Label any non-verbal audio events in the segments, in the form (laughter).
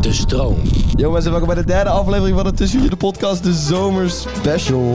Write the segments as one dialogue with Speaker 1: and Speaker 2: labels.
Speaker 1: De stroom.
Speaker 2: Yo mensen, welkom bij de derde aflevering van de Tussen Jullie Podcast, de Zomer Special.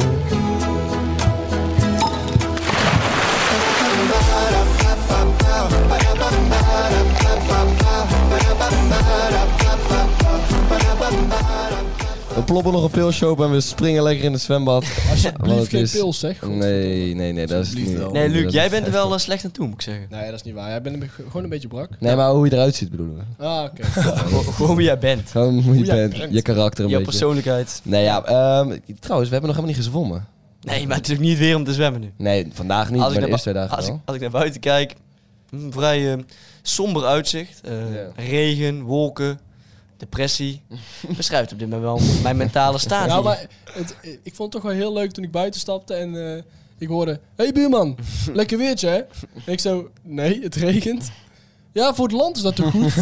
Speaker 2: We ploppen nog een pils op en we springen lekker in het zwembad. Want
Speaker 3: Alsjeblieft
Speaker 2: het
Speaker 3: geen
Speaker 2: is-
Speaker 3: pils, zeg. God.
Speaker 2: Nee, nee, nee, dat is
Speaker 4: Alsjeblieft
Speaker 2: niet.
Speaker 4: wel.
Speaker 5: Nee,
Speaker 2: Oh, dat
Speaker 5: Luc,
Speaker 2: is
Speaker 5: jij bent er
Speaker 2: echt
Speaker 5: wel
Speaker 2: niet.
Speaker 5: eh, slecht aan toe, moet ik
Speaker 2: (laughs)
Speaker 5: zeggen.
Speaker 3: Nee, dat is niet waar. Jij bent een be- gewoon een beetje (laughs) brak.
Speaker 2: Nee, maar hoe je eruit ziet bedoelen we.
Speaker 3: Ah, oké.
Speaker 5: Gew- Gewoon wie jij bent.
Speaker 2: Gewoon hoe je
Speaker 3: jij
Speaker 2: bent,
Speaker 3: bent.
Speaker 2: je karakter een
Speaker 5: Jouw
Speaker 2: beetje.
Speaker 5: persoonlijkheid.
Speaker 2: Nee, ja, ehm, trouwens, we hebben nog helemaal niet gezwommen.
Speaker 5: Nee, maar het is ook niet weer om te zwemmen nu.
Speaker 2: Nee, vandaag niet, maar de
Speaker 5: naar
Speaker 2: eerste twee
Speaker 5: bui-
Speaker 2: dagen
Speaker 5: als, ik,
Speaker 2: wel.
Speaker 5: als ik naar buiten kijk, een vrij eh, somber uitzicht. Eh,
Speaker 2: Ja.
Speaker 5: Regen,
Speaker 2: (laughs)
Speaker 5: wolken, depressie. Beschrijft op dit moment wel mijn mentale staat.
Speaker 3: Nou,
Speaker 5: hier.
Speaker 3: maar het, ik vond het toch wel heel leuk toen ik buiten stapte en eh, ik hoorde... hey, buurman, lekker weertje, hè? En ik zo, nee, het regent. Ja, voor het land is dat toch goed?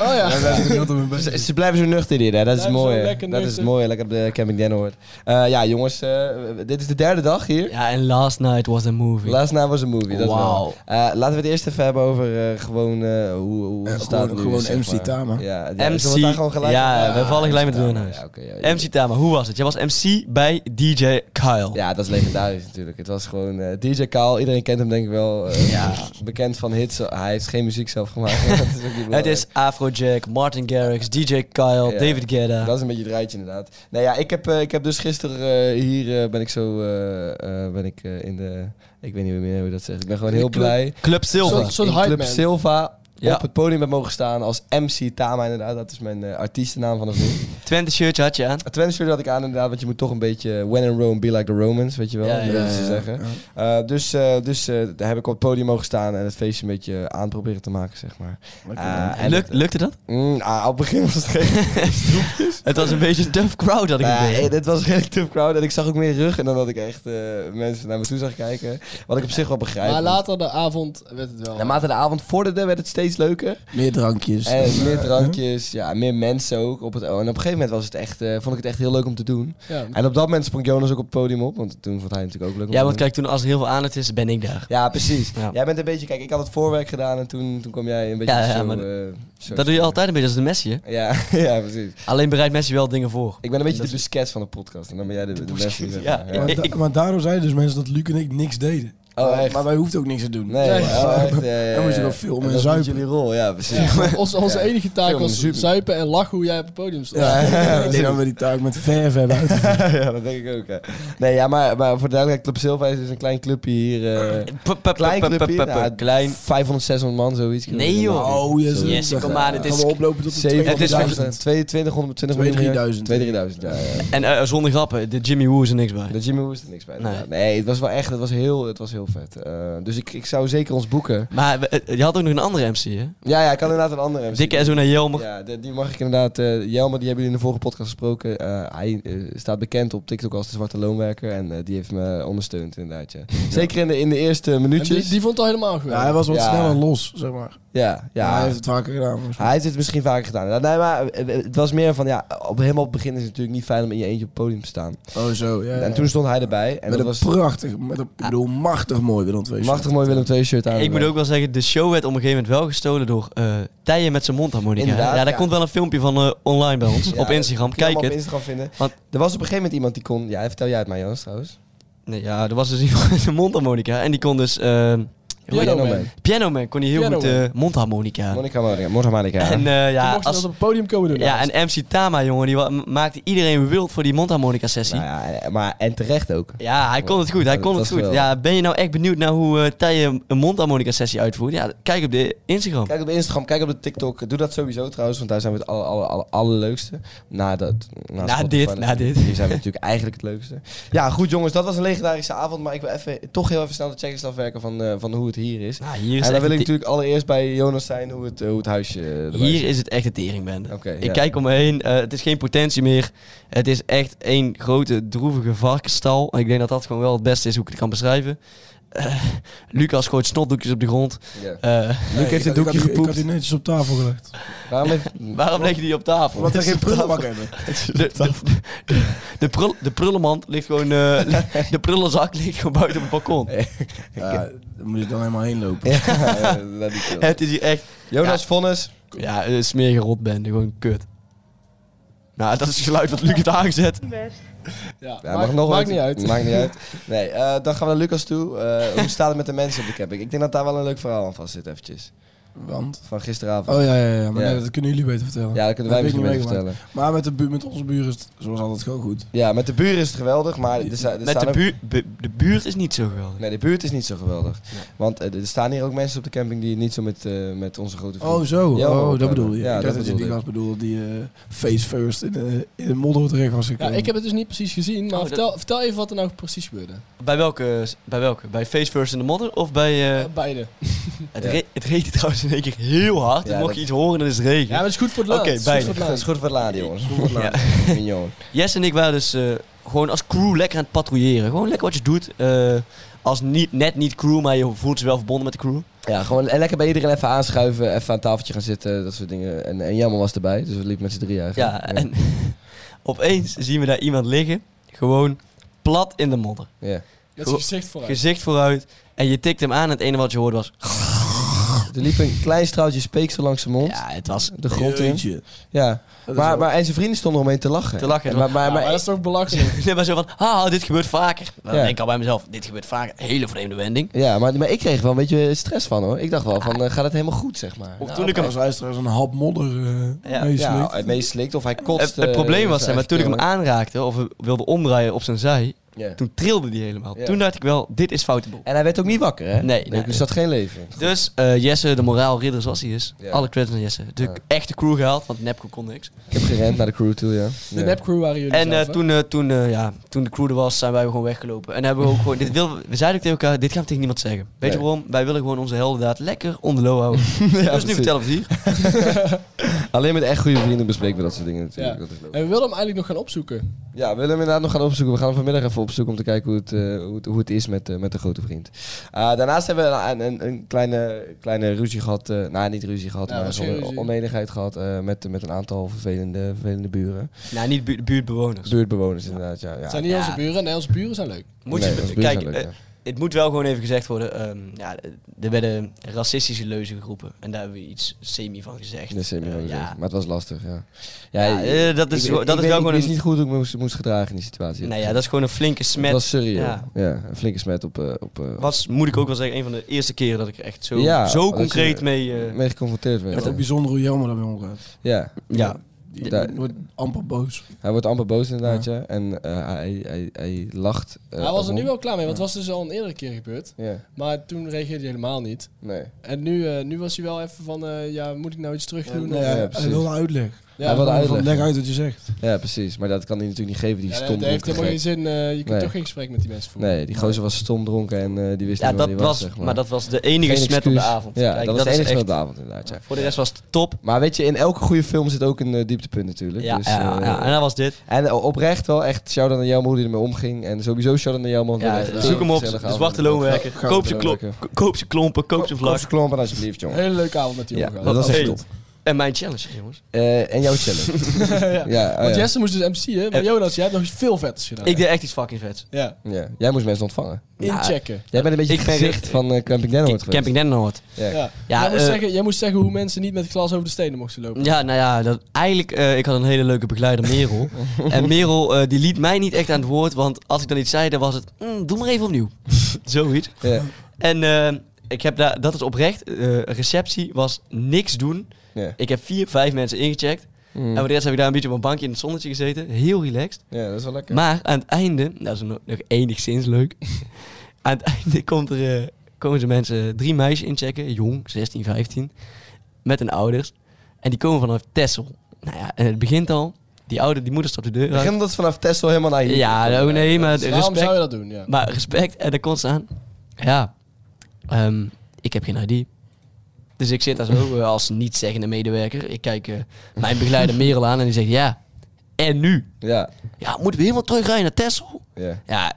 Speaker 3: oh ja.
Speaker 4: Ja, wij zijn heel te mijn best.
Speaker 2: (laughs) Ze, ze blijven zo nuchter dit, hè? Dat is
Speaker 3: Blijven
Speaker 2: mooi.
Speaker 3: zo
Speaker 2: hè.
Speaker 3: lekker
Speaker 2: Dat is
Speaker 3: nuchter.
Speaker 2: mooi, lekker op de Camping Den hoort. Eh, ja, jongens, eh, dit is de derde dag hier.
Speaker 5: Ja, en last night was a movie.
Speaker 2: Last night was een movie, dat
Speaker 5: Wauw.
Speaker 2: wel. Eh, laten we het eerst even hebben over eh, gewoon eh, hoe, hoe
Speaker 4: Eh,
Speaker 2: het staat
Speaker 4: gewoon-
Speaker 2: nu,
Speaker 4: gewoon
Speaker 2: zeg
Speaker 4: MC
Speaker 2: maar.
Speaker 4: Tama.
Speaker 2: Ja, ja,
Speaker 5: MC
Speaker 2: zullen we het daar gewoon gelijk
Speaker 5: Ja,
Speaker 2: op-
Speaker 5: we vallen gelijk met
Speaker 2: MC Tama.
Speaker 5: de huis.
Speaker 2: Ja, oké, ja, ja.
Speaker 5: MC Tama, hoe was het? Jij was MC bij DJ Kyle.
Speaker 2: Ja, dat is legendarisch natuurlijk. Het was gewoon eh, DJ Kaal. Iedereen kent hem denk ik wel. eh, (laughs) Bekend van hits. Hij heeft geen muziek zelf gemaakt. (laughs) dat is ook niet
Speaker 5: Het
Speaker 2: belangrijk.
Speaker 5: is Afrojack, Martin Garrix, DJ Kyle,
Speaker 2: Ja.
Speaker 5: David Guetta.
Speaker 2: Dat is een beetje het rijtje inderdaad. Nou ja, ik heb, eh, ik heb dus gisteren eh, hier eh, ben ik zo eh, eh, ben ik eh, in de ik weet niet meer hoe je dat zegt. Ik ben gewoon heel
Speaker 3: club.
Speaker 2: blij.
Speaker 5: Club Silva.
Speaker 3: Zo'n- soort
Speaker 2: in
Speaker 3: hype
Speaker 2: Club
Speaker 3: man.
Speaker 2: Silva
Speaker 5: Ja.
Speaker 2: op het podium heb mogen staan als MC Tama inderdaad. Dat is mijn eh, artiestennaam vanaf nu.
Speaker 5: Twente shirtje had je aan.
Speaker 2: Het Twente shirt had ik aan inderdaad, want je moet toch een beetje when in Rome be like the Romans, weet je wel,
Speaker 5: Ja,
Speaker 2: om
Speaker 5: ja,
Speaker 2: dat te zeggen. Eh, dus eh, dus eh, daar heb ik op het podium mogen staan en het feestje een beetje aan proberen te maken, zeg maar. Eh, en
Speaker 5: Luk-
Speaker 2: het-
Speaker 5: lukte dat?
Speaker 2: Mm, ah, op het begin was het geen
Speaker 5: Het was een beetje een tough crowd, had ik
Speaker 2: Nou
Speaker 5: het
Speaker 2: ja,
Speaker 5: idee.
Speaker 2: eh, dit was een redelijk tough crowd. En ik zag ook meer rug. En dan dat ik echt eh, mensen naar me toe zag kijken. Wat ik op zich wel begrijp.
Speaker 3: Maar later de avond werd het wel...
Speaker 2: Naarmate de avond vorderde, werd het steeds leuker.
Speaker 4: Meer drankjes.
Speaker 2: En meer drankjes, ja, meer mensen ook. Op het, en op een gegeven moment was het echt, eh, vond ik het echt heel leuk om te doen.
Speaker 3: ja.
Speaker 2: En op dat moment sprong Jonas ook op het podium op. Want toen vond hij het natuurlijk ook leuk om
Speaker 5: Ja,
Speaker 2: te
Speaker 5: want
Speaker 2: doen.
Speaker 5: kijk, toen als er heel veel aandacht is, ben ik daar.
Speaker 2: Ja, precies.
Speaker 5: Ja.
Speaker 2: Jij bent een beetje... Kijk, ik had het voorwerk gedaan en toen, toen kwam jij een beetje
Speaker 5: Ja, ja,
Speaker 2: zo...
Speaker 5: maar dat-
Speaker 2: eh, zo-
Speaker 5: Dat doe je altijd een beetje als de Messi, hè?
Speaker 2: Ja, (laughs) ja, precies.
Speaker 5: Alleen bereidt Messi wel dingen voor.
Speaker 2: Ik ben een beetje de busquets van de podcast. En dan ben jij de, de, beste. zeg
Speaker 5: (laughs) Ja,
Speaker 2: maar.
Speaker 5: ik-
Speaker 4: maar,
Speaker 5: ik-
Speaker 4: da- maar daarom zeiden dus mensen dat Luc en ik niks deden.
Speaker 2: Oh, echt?
Speaker 4: Maar wij hoefden ook niks te doen.
Speaker 2: Nee,
Speaker 3: Nee.
Speaker 2: oh,
Speaker 4: (laughs)
Speaker 2: echt, ja, ja,
Speaker 4: Dan moest je
Speaker 2: ja.
Speaker 4: gewoon filmen
Speaker 2: Dat
Speaker 4: en
Speaker 2: is niet
Speaker 4: zuipen.
Speaker 2: jullie rol, ja, precies.
Speaker 4: (laughs)
Speaker 3: Ja, onze onze
Speaker 2: Ja.
Speaker 3: enige taak
Speaker 2: Film,
Speaker 3: was
Speaker 2: zuipen.
Speaker 3: zuipen en lachen hoe jij op het podium stond.
Speaker 4: Ja, (laughs) ik denk dat we die taak met
Speaker 2: (laughs)
Speaker 4: verf hebben uitgevoerd.
Speaker 2: ja, dat denk ik ook. Hè. Nee, ja, maar, maar voor de duidelijkheid, Club Silva is dus een klein clubje hier. eh
Speaker 5: Pup, pup,
Speaker 2: klein
Speaker 5: pup, pup,
Speaker 2: clubje,
Speaker 5: pup,
Speaker 2: nou,
Speaker 5: pup. Klein.
Speaker 2: 500, 600 man, zoiets. Nou,
Speaker 5: Nee, joh.
Speaker 4: Oh, yes.
Speaker 2: Sorry.
Speaker 5: Yes,
Speaker 4: Dan
Speaker 5: kom aan,
Speaker 4: gaan
Speaker 5: het
Speaker 4: we
Speaker 5: is-
Speaker 4: oplopen tot de
Speaker 2: 700,
Speaker 4: 2000.
Speaker 2: 2200, 20 miljoen.
Speaker 4: 2000.
Speaker 2: 2000, ja. ja.
Speaker 5: En eh, zonder grappen, de Jimmy Woo is er niks bij.
Speaker 2: De Jimmy Woo is er niks bij.
Speaker 5: Nee.
Speaker 2: Nee. nee, het was wel echt, het was heel, het was heel vet. Eh, dus ik, ik zou zeker ons boeken.
Speaker 5: Maar we- eh, je had ook nog een andere MC, hè?
Speaker 2: Ja, ja, ik kan inderdaad een andere MC
Speaker 5: Dikke SO naar Jelmer.
Speaker 2: Ja, de- die mag ik inderdaad. eh Jelmer, die hebben jullie in de vorige podcast gesproken. Eh, hij eh, staat bekend op TikTok als de zwarte loonwerker. En eh, die heeft me ondersteund inderdaad. Ja. Zeker in de, in de eerste
Speaker 3: En die,
Speaker 2: minuutjes.
Speaker 3: die vond het al helemaal
Speaker 4: Ja, hij
Speaker 3: geweldig.
Speaker 4: was wat
Speaker 2: Ja.
Speaker 4: sneller los, zeg maar.
Speaker 2: Ja,
Speaker 4: Ja,
Speaker 2: ja.
Speaker 4: hij heeft het vaker gedaan. volgens mij.
Speaker 2: Hij heeft het misschien vaker gedaan. inderdaad. Nee, maar eh, eh, het was meer van, ja, op, helemaal op het begin is het natuurlijk niet fijn om in je eentje op het podium te staan.
Speaker 4: Oh, zo. Ja,
Speaker 2: En toen stond hij erbij. En
Speaker 4: met
Speaker 2: dat
Speaker 4: een
Speaker 2: was
Speaker 4: prachtig, met een, ik bedoel, machtig mooi Willem II.
Speaker 2: een machtig mooi Willem II shirt aan.
Speaker 5: Ik moet
Speaker 2: erbij.
Speaker 5: ook wel zeggen, de show werd op een gegeven moment wel gestolen door eh Tijen met zijn mondharmonica.
Speaker 2: Inderdaad,
Speaker 5: ja, daar
Speaker 2: ja.
Speaker 5: komt wel een filmpje van eh, online bij ons,
Speaker 2: Ja,
Speaker 5: op Instagram.
Speaker 2: kun je allemaal
Speaker 5: Kijk
Speaker 2: op
Speaker 5: het.
Speaker 2: Instagram vinden.
Speaker 5: Want-
Speaker 2: er was op een gegeven moment iemand die kon... Ja, vertel jij het maar, Jans, trouwens.
Speaker 5: (laughs) Nee, ja, er was dus iemand met een mondharmonica en die kon dus... eh, heet
Speaker 3: Piano
Speaker 5: dat?
Speaker 2: Piano
Speaker 3: Man.
Speaker 2: Man.
Speaker 5: Piano Man kon hij heel
Speaker 3: Piano
Speaker 5: goed eh, mondharmonica.
Speaker 2: Monica Monica. Monica
Speaker 5: (laughs)
Speaker 2: Monica.
Speaker 5: En eh, ja,
Speaker 3: mocht je dat
Speaker 5: als,
Speaker 3: op het podium komen doen.
Speaker 5: ja, en MC Tama, jongen, die wa- m- maakte iedereen wild voor die mondharmonica sessie.
Speaker 2: Nou ja, en- maar en terecht ook.
Speaker 5: Ja, hij kon het goed. Hij
Speaker 2: Dat
Speaker 5: kon het
Speaker 2: was
Speaker 5: goed.
Speaker 2: geweldig.
Speaker 5: Ja, ben je nou echt benieuwd naar hoe eh Tije een mondharmonica sessie uitvoert? Ja, kijk op de Instagram.
Speaker 2: Kijk op de Instagram, kijk op de TikTok. Doe dat sowieso trouwens, want daar zijn we het alle, alle, alle, allerleukste. Na, dat, na,
Speaker 5: Na
Speaker 2: Spotify
Speaker 5: dit,
Speaker 2: natuurlijk.
Speaker 5: na dit.
Speaker 2: Hier zijn we natuurlijk eigenlijk het leukste. Ja, goed jongens, dat was een legendarische avond. Maar ik wil even, toch heel even snel de checklist afwerken van, eh, van hoe het hier is.
Speaker 5: Nou, hier is,
Speaker 2: En dan
Speaker 5: echt
Speaker 2: wil ik
Speaker 5: een te-
Speaker 2: natuurlijk allereerst bij Jonas zijn hoe het, eh, hoe het huisje eh, erbij
Speaker 5: hier
Speaker 2: zit.
Speaker 5: is het echt een teringbende.
Speaker 2: Oké,
Speaker 5: Ik
Speaker 2: ja.
Speaker 5: kijk om me heen, eh, het is geen potentie meer. Het is echt één grote droevige varkensstal. En ik denk dat dat gewoon wel het beste is hoe ik het kan beschrijven. Eh, Lucas gooit snotdoekjes op de grond.
Speaker 2: Ja.
Speaker 5: Eh,
Speaker 2: Luc heeft een
Speaker 4: ik had-
Speaker 2: doekje
Speaker 4: ik had- Ik had
Speaker 2: gepoept.
Speaker 4: die netjes op tafel gelegd.
Speaker 2: Waarom heeft...
Speaker 5: waarom leg je die (laughs) op tafel?
Speaker 4: Omdat we geen prullenbak
Speaker 5: prullenbak
Speaker 4: hebben.
Speaker 5: De, de, de, prul- de prullenmand ligt gewoon... eh, (laughs) de prullenzak ligt gewoon buiten op het balkon.
Speaker 4: Ja, daar moet ik dan helemaal heen lopen.
Speaker 2: Ja, (laughs) eh, laat die chill.
Speaker 5: Het is hier echt...
Speaker 2: Jonas Vonnis.
Speaker 5: Ja, een smerige rotbende. Gewoon kut. Nou, dat is het geluid wat Luc heeft aangezet.
Speaker 3: Ja,
Speaker 2: Ja,
Speaker 3: maakt,
Speaker 2: mag nog
Speaker 3: maakt
Speaker 2: wat-
Speaker 3: niet uit.
Speaker 2: Maakt niet uit. Nee, eh, dan gaan we naar Lucas toe. Eh, hoe staat het met de mensen op de camping? Ik denk dat daar wel een leuk verhaal aan vast zit eventjes.
Speaker 4: Want?
Speaker 2: Van gisteravond.
Speaker 4: Oh ja, ja, ja. Maar
Speaker 2: Ja.
Speaker 4: nee, dat kunnen jullie beter vertellen.
Speaker 2: Ja, dat kunnen wij
Speaker 4: Dat
Speaker 2: misschien
Speaker 4: heb ik
Speaker 2: beter
Speaker 4: niet
Speaker 2: vertellen.
Speaker 4: Maar met, de bu- met onze buren is het zoals altijd gewoon goed.
Speaker 2: Ja, met de buren is het geweldig, maar er, sta- er
Speaker 5: Met
Speaker 2: staan
Speaker 5: de,
Speaker 2: ook-
Speaker 5: buur, bu- de buurt is niet zo geweldig.
Speaker 2: Nee, de buurt is niet zo geweldig. Want eh, er staan hier ook mensen op de camping die niet zo met, eh, met onze grote vrienden...
Speaker 4: Oh, zo.
Speaker 2: Ja,
Speaker 4: oh,
Speaker 2: maar-
Speaker 4: dat bedoel je.
Speaker 2: Ja, dat
Speaker 4: ik dacht dat je
Speaker 2: bedoelde
Speaker 4: die
Speaker 2: ik.
Speaker 4: gast bedoelde die eh, face first in de, in de modder terecht was
Speaker 3: Ja,
Speaker 4: gekomen.
Speaker 3: ik heb het dus niet precies gezien, maar
Speaker 5: Oh, dat-
Speaker 3: vertel, vertel even wat er nou precies gebeurde.
Speaker 5: Bij welke? Bij welke? Bij Face First in the Modder of bij... eh,
Speaker 3: Eh, Beide.
Speaker 5: het,
Speaker 2: ja.
Speaker 5: re het regent trouwens in één keer heel hard.
Speaker 2: Ja,
Speaker 5: en mocht
Speaker 2: dat-
Speaker 5: je iets horen, dan is het regen.
Speaker 3: Ja, maar het is goed voor het laatst.
Speaker 5: Oké,
Speaker 3: Het is goed
Speaker 5: beide.
Speaker 3: voor het
Speaker 2: Dat (laughs) is
Speaker 3: laatst.
Speaker 2: goed voor het laden, jongens.
Speaker 5: Ja.
Speaker 2: (laughs) Mignon.
Speaker 5: Jess en ik waren dus eh, gewoon als crew lekker aan het patrouilleren. Gewoon lekker wat je doet. eh, als niet, net niet crew, maar je voelt je wel verbonden met de crew.
Speaker 2: Ja, gewoon en lekker bij iedereen even aanschuiven, even aan het tafeltje gaan zitten, dat soort dingen. En, en Jammer was erbij, dus we liepen met z'n drieën eigenlijk.
Speaker 5: Ja, en (laughs) opeens zien we daar iemand liggen. Gewoon plat in de modder.
Speaker 2: Ja.
Speaker 3: Met zijn gezicht vooruit.
Speaker 5: Gezicht vooruit. En je tikt hem aan en het ene wat je hoorde
Speaker 2: (laughs)
Speaker 5: was... (laughs)
Speaker 2: Er liep een klein straaltje speeksel langs zijn mond,
Speaker 5: Ja, het was
Speaker 2: de grond in.
Speaker 4: Jeetje.
Speaker 3: Nou,
Speaker 2: Ja.
Speaker 4: Dat is
Speaker 2: Maar,
Speaker 4: wel-
Speaker 2: maar, en zijn vrienden stonden omheen te lachen.
Speaker 5: Te lachen,
Speaker 2: En Maar, maar,
Speaker 3: Ja, maar
Speaker 2: maar,
Speaker 3: dat is toch belachelijk.
Speaker 5: Nee, maar zo van, haha, dit gebeurt vaker. Dan
Speaker 2: Ja.
Speaker 5: denk ik al bij mezelf, dit gebeurt vaker. Hele vreemde wending.
Speaker 2: ja, maar, maar ik kreeg wel een beetje stress van hoor. Ik dacht wel van, eh, gaat het helemaal goed, zeg maar.
Speaker 5: Of
Speaker 4: Ja,
Speaker 5: toen ik hem...
Speaker 4: als luisteraar is een hap modder eh
Speaker 5: Ja.
Speaker 2: Ja,
Speaker 4: meesleept.
Speaker 2: het meest slikt of hij kotst.
Speaker 5: Het, het
Speaker 2: eh,
Speaker 5: probleem
Speaker 2: dat
Speaker 5: was,
Speaker 2: is
Speaker 5: zeg maar,
Speaker 2: eigenlijk
Speaker 5: toen ik hem
Speaker 2: heel
Speaker 5: aanraakte of wilde omdraaien op zijn zij,
Speaker 2: erg. Ja.
Speaker 5: toen trilde die helemaal.
Speaker 2: Ja.
Speaker 5: Toen dacht ik wel, dit is foute boel.
Speaker 2: En hij werd ook niet wakker, hè?
Speaker 5: Nee,
Speaker 2: Dus
Speaker 5: nee.
Speaker 2: er zat geen leven. in.
Speaker 5: Dus eh, Jesse, de moraalridder zoals hij is,
Speaker 2: Ja.
Speaker 5: alle credits aan Jesse. De
Speaker 2: Ja.
Speaker 5: echte crew gehaald, want Nepco kon niks.
Speaker 2: Ik heb gerend naar de crew toe, ja.
Speaker 3: De
Speaker 2: Ja. (laughs)
Speaker 3: nepcrew waren jullie
Speaker 5: en eh,
Speaker 3: zelf, hè?
Speaker 5: toen, eh, toen, eh, ja, toen de crew er was, zijn wij gewoon weggelopen. En hebben we ook gewoon, dit wil, we zeiden ook tegen elkaar, dit gaan we tegen niemand zeggen. Weet je
Speaker 2: Nee.
Speaker 5: waarom? Wij willen gewoon onze heldendaad lekker onder de low houden.
Speaker 2: Ja,
Speaker 5: dus
Speaker 2: precies.
Speaker 5: nu vertellen we het hier.
Speaker 2: Alleen met echt goede vrienden bespreken we dat soort dingen natuurlijk.
Speaker 3: Ja.
Speaker 2: Dat is leuk.
Speaker 3: En we wilden hem eigenlijk nog gaan opzoeken.
Speaker 2: Ja, we willen hem inderdaad nog gaan opzoeken. We gaan hem vanmiddag even opzoeken om te kijken hoe het, eh, hoe het, hoe het is met, eh, met de grote vriend. Eh, daarnaast hebben we een, een, een kleine, kleine ruzie gehad. eh, nou, niet ruzie gehad,
Speaker 3: Ja,
Speaker 2: maar
Speaker 3: was geen
Speaker 2: zo'n
Speaker 3: ruzie.
Speaker 2: oneenigheid gehad eh, met, met een aantal vervelende, vervelende buren.
Speaker 5: Nou, niet bu- de buurtbewoners.
Speaker 2: Buurtbewoners inderdaad, ja. ja.
Speaker 3: Het zijn niet
Speaker 5: Ja.
Speaker 3: onze buren. Nee, onze buren zijn leuk.
Speaker 5: Moet
Speaker 2: Nee,
Speaker 5: je,
Speaker 2: dat is
Speaker 5: kijk,
Speaker 2: buurtzaak,
Speaker 5: eh,
Speaker 2: ja.
Speaker 5: het moet wel gewoon even gezegd worden. ehm, ja, er werden racistische leuzen geroepen. En daar hebben we iets semi van gezegd.
Speaker 2: Dat is helemaal
Speaker 5: Eh,
Speaker 2: niet
Speaker 5: ja.
Speaker 2: leuk. Maar het was lastig, ja.
Speaker 5: Ja, eh, dat is
Speaker 2: ik-
Speaker 5: wel-
Speaker 2: ik
Speaker 5: dat is
Speaker 2: weet-
Speaker 5: wel
Speaker 2: Ik
Speaker 5: gewoon
Speaker 2: wist
Speaker 5: een-
Speaker 2: niet goed hoe ik me moest, moest gedragen in die situatie.
Speaker 5: Nou ja, dat is gewoon een flinke
Speaker 2: Het
Speaker 5: smet.
Speaker 2: was serieus. Ja.
Speaker 5: ja.
Speaker 2: een flinke smet op... eh, op eh,
Speaker 5: Was, moet ik ook wel zeggen, een van de eerste keren dat ik er echt zo,
Speaker 2: Ja, dat
Speaker 5: zo
Speaker 2: je-
Speaker 5: concreet mee... eh,
Speaker 2: mee geconfronteerd
Speaker 4: Het
Speaker 2: werd.
Speaker 4: is ook
Speaker 2: Ja.
Speaker 4: bijzonder hoe jammer daarmee omgaat.
Speaker 2: Ja,
Speaker 5: ja.
Speaker 4: Die
Speaker 2: Daar-
Speaker 4: wordt amper boos.
Speaker 2: hij wordt amper boos inderdaad, ja. En eh, hij, hij, hij lacht. eh,
Speaker 3: hij was er
Speaker 2: erom.
Speaker 3: nu wel klaar mee, want het was dus al een eerdere keer gebeurd.
Speaker 2: Ja,
Speaker 3: Maar toen reageerde hij helemaal niet.
Speaker 2: nee.
Speaker 3: En nu, eh, nu was hij wel even van, eh, ja, moet ik nou iets terug doen?
Speaker 4: Nee,
Speaker 3: Of-
Speaker 2: ja,
Speaker 4: hij
Speaker 2: precies.
Speaker 4: wil een uitleg.
Speaker 3: ja,
Speaker 2: hij wilde
Speaker 4: Van,
Speaker 2: uitleggen.
Speaker 4: Leg uit wat je zegt.
Speaker 2: Ja, precies. Maar dat kan hij natuurlijk niet geven, die
Speaker 3: Ja,
Speaker 2: stom
Speaker 3: dat heeft
Speaker 2: dronken
Speaker 3: helemaal geen
Speaker 2: gek.
Speaker 3: zin. eh, je kunt
Speaker 2: Nee.
Speaker 3: toch geen gesprek met die mensen voeren.
Speaker 2: Nee, die gozer was stom dronken en eh, die wist
Speaker 5: ja
Speaker 2: niet waar
Speaker 5: dat
Speaker 2: die
Speaker 5: was,
Speaker 2: was, zeg
Speaker 5: maar.
Speaker 2: maar.
Speaker 5: dat was de enige
Speaker 2: Geen
Speaker 5: smet op de
Speaker 2: excuus.
Speaker 5: avond.
Speaker 2: Ja,
Speaker 5: Kijk,
Speaker 2: dat was de
Speaker 5: is
Speaker 2: enige smet
Speaker 5: echt-
Speaker 2: op de avond inderdaad, ja.
Speaker 5: Voor de rest was het top.
Speaker 2: Maar weet je, in elke goede film zit ook een eh, dieptepunt natuurlijk.
Speaker 5: Ja,
Speaker 2: dus,
Speaker 5: ja,
Speaker 2: eh,
Speaker 5: ja, en dat was dit.
Speaker 2: En eh, oprecht wel echt shout-out naar Jelmo hoe die ermee omging. En sowieso shout-out naar Jelmo. want
Speaker 5: Ja, dus
Speaker 2: we hebben echt
Speaker 5: zoek
Speaker 2: een
Speaker 5: hem op,
Speaker 2: gezellige
Speaker 5: de
Speaker 2: avond.
Speaker 5: zwarte loonwerker.
Speaker 4: Gouden
Speaker 5: Koop ze klo-
Speaker 2: loonwerker.
Speaker 5: koop ze klompen, koop ze
Speaker 2: Koop
Speaker 5: vlag.
Speaker 2: zijn klompen alsjeblieft, jongen.
Speaker 3: Hele leuke avond met die
Speaker 2: Ja,
Speaker 3: jongen.
Speaker 2: dat was echt
Speaker 5: Hey.
Speaker 2: top.
Speaker 5: En mijn challenge, jongens.
Speaker 2: Eh, en jouw
Speaker 5: (laughs)
Speaker 2: challenge.
Speaker 3: (laughs) ja.
Speaker 2: ja, oh
Speaker 3: Want
Speaker 2: ja.
Speaker 3: Jesse moest dus MC, hè? Maar
Speaker 5: Eh.
Speaker 3: Jonas, jij hebt nog iets veel vetters gedaan.
Speaker 5: Ik deed echt iets fucking vets.
Speaker 3: Ja,
Speaker 2: Ja, Jij moest mensen ontvangen.
Speaker 3: inchecken.
Speaker 2: Jij bent een beetje
Speaker 5: Ik
Speaker 2: het
Speaker 5: ben-
Speaker 2: gezicht van eh, Camping Denhoord geweest.
Speaker 5: Camping Denhoord.
Speaker 3: Ja.
Speaker 2: Ja.
Speaker 5: Ja,
Speaker 3: jij, moest
Speaker 5: eh,
Speaker 3: zeggen, jij moest zeggen hoe mensen niet met glas over de stenen mochten lopen.
Speaker 5: Ja, nou ja, dat, eigenlijk, eh, ik had een hele leuke begeleider,
Speaker 2: (laughs)
Speaker 5: Merel. en Merel, eh, die liet mij niet echt aan het (laughs) woord, want als ik dan iets zei, dan was het, "Mm, doe maar even opnieuw. Zoiets.
Speaker 2: Ja.
Speaker 5: En eh, ik heb daar, dat is oprecht. eh, receptie was niks doen.
Speaker 2: Ja. Mm.
Speaker 5: Ik heb vier, vijf mensen ingecheckt.
Speaker 3: Mm.
Speaker 5: En voor de rest heb ik daar een beetje op een bankje in het zonnetje gezeten. Heel relaxed.
Speaker 2: ja, dat is wel lekker.
Speaker 5: Maar aan het einde, dat is nog, nog enigszins
Speaker 3: (laughs)
Speaker 5: leuk. aan het einde komt er, eh, komen ze mensen drie meisjes inchecken, jong, 16, 15, met hun ouders. En die komen vanaf Tessel. Nou ja, en het begint al. Die ouder, die moeder stapt de deur uit.
Speaker 2: Begin dat vanaf Tesla helemaal naar hier.
Speaker 5: Ja, oh nee, maar
Speaker 3: Dus Waarom zou
Speaker 5: respect.
Speaker 3: je dat doen? Ja.
Speaker 5: Maar respect, en dan komt ze aan. Ja, ehm, ik heb geen ID. Dus ik zit daar zo eh, als niet-zeggende medewerker. Ik kijk eh, mijn begeleider Merel aan en die zegt ja. En nu?
Speaker 2: Ja,
Speaker 5: Ja, moeten we helemaal terugrijden naar Tessel?
Speaker 2: ja.
Speaker 5: Ja,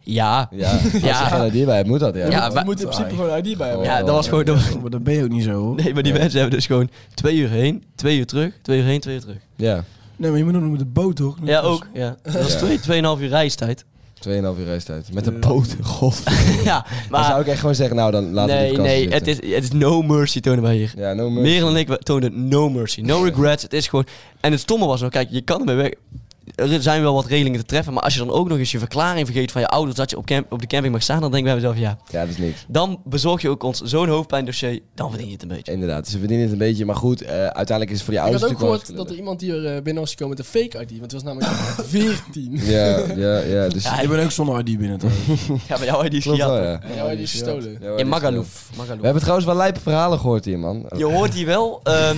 Speaker 5: ja.
Speaker 2: Ja, als je
Speaker 5: (laughs) Ja.
Speaker 2: geen idee bij hebt, moet dat, ja.
Speaker 5: Ja,
Speaker 3: je
Speaker 5: maar-
Speaker 3: moet in principe gewoon een ID bij hebben.
Speaker 2: Ja,
Speaker 5: Ja, dat was gewoon... dat was-
Speaker 4: Maar dat ben je ook niet zo hoor.
Speaker 5: Nee, maar die
Speaker 2: Ja.
Speaker 5: mensen hebben dus gewoon twee uur heen, twee uur terug, twee uur heen, twee uur terug.
Speaker 2: Ja,
Speaker 4: Nee, maar je moet ook nog met de boot toch?
Speaker 5: Ja, ook. Ja. Dat is
Speaker 2: Ja.
Speaker 5: twee, tweeënhalf uur
Speaker 2: (laughs)
Speaker 5: reistijd.
Speaker 2: 2,5 uur reistijd. Met een
Speaker 4: Ja.
Speaker 2: poot, (laughs) god.
Speaker 5: ja,
Speaker 2: Dan zou
Speaker 5: maar...
Speaker 2: ik echt gewoon zeggen, nou dan laten we
Speaker 5: Nee,
Speaker 2: die kast
Speaker 5: nee, het is, het is no mercy tonen wij hier.
Speaker 2: Ja, no mercy.
Speaker 5: Merel en ik we toonden no mercy, no regrets. Het is gewoon... En het stomme was nog, kijk, je kan ermee weg... Er zijn wel wat regelingen te treffen, maar als je dan ook nog eens je verklaring vergeet van je ouders dat je op, camp, op de camping mag staan, dan denk ik bij mezelf, ja,
Speaker 2: Ja, dat is niks.
Speaker 5: dan bezorg je ook ons zo'n hoofdpijndossier, dan verdien je het een beetje.
Speaker 2: Inderdaad, ze verdienen het een beetje, maar goed, eh, uiteindelijk is het voor die
Speaker 3: Ik
Speaker 2: ouders
Speaker 3: had ook
Speaker 2: natuurlijk
Speaker 3: gehoord dat er iemand hier eh, binnen was gekomen met een fake ID, want het was namelijk 14.
Speaker 2: Ja, ja, ja. Dus
Speaker 4: Ja, ik ben ook zonder ID
Speaker 2: (laughs)
Speaker 4: binnen toch?
Speaker 5: Ja, (laughs) bij jou, die is
Speaker 2: klopt wel,
Speaker 5: gejat.
Speaker 2: ja.
Speaker 3: En jou die is gestolen.
Speaker 2: Ja, hoor,
Speaker 5: In
Speaker 2: dit is
Speaker 5: Magaluf.
Speaker 2: wel- We hebben trouwens wel lijpe verhalen gehoord hier, man.
Speaker 5: Je hoort hier wel
Speaker 2: (laughs)
Speaker 5: ehm,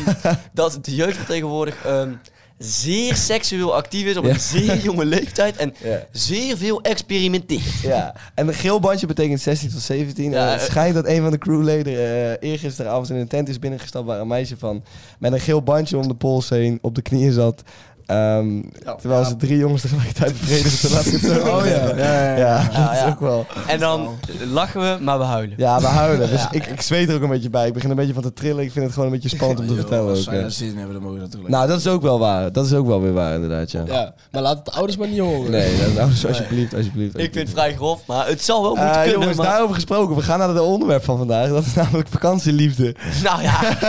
Speaker 5: dat de jeugd van tegenwoordig ehm, zeer seksueel actief is op een
Speaker 2: Ja.
Speaker 5: zeer jonge leeftijd en
Speaker 2: Ja.
Speaker 5: zeer veel experimenteert.
Speaker 2: Ja, en een geel bandje betekent 16 tot 17.
Speaker 5: Ja,
Speaker 2: en het
Speaker 5: eh.
Speaker 2: schijnt dat een van de crewleden eh eergisteravond in een tent is binnengestapt waar een meisje van met een geel bandje om de pols heen op de knieën zat. Ehm, terwijl ze drie jongens tegelijkertijd bevredigden. Laat
Speaker 5: (laughs)
Speaker 2: ik het zo
Speaker 4: Oh ja, ja,
Speaker 2: zeggen.
Speaker 4: ja,
Speaker 2: Ja,
Speaker 4: ja.
Speaker 5: Ja,
Speaker 2: dat is
Speaker 5: ja.
Speaker 2: ook wel.
Speaker 5: En dan lachen we, maar we huilen.
Speaker 2: (laughs) Ja, we huilen. Dus ik, ik zweet er ook een beetje bij. Ik begin een beetje van te trillen. Ik vind het gewoon een beetje spannend om te
Speaker 4: Joh,
Speaker 2: vertellen.
Speaker 4: Als
Speaker 2: Ook,
Speaker 4: zij
Speaker 2: eh.
Speaker 4: daar zin in hebben, dan mogen ze natuurlijk.
Speaker 2: Nou, dat is ook wel waar. Dat is ook wel weer waar, inderdaad. Ja.
Speaker 3: Ja, maar laat het de ouders maar niet horen.
Speaker 2: Nee, dat, nou, dus alsjeblieft, alsjeblieft.
Speaker 5: Ik vind het vrij grof, maar het zal wel
Speaker 2: Eh,
Speaker 5: moeten kunnen.
Speaker 2: jongens,
Speaker 5: maar-
Speaker 2: daarover gesproken. We gaan naar het onderwerp van vandaag. Dat is (laughs) namelijk vakantieliefde. (laughs)
Speaker 5: Nou ja, ik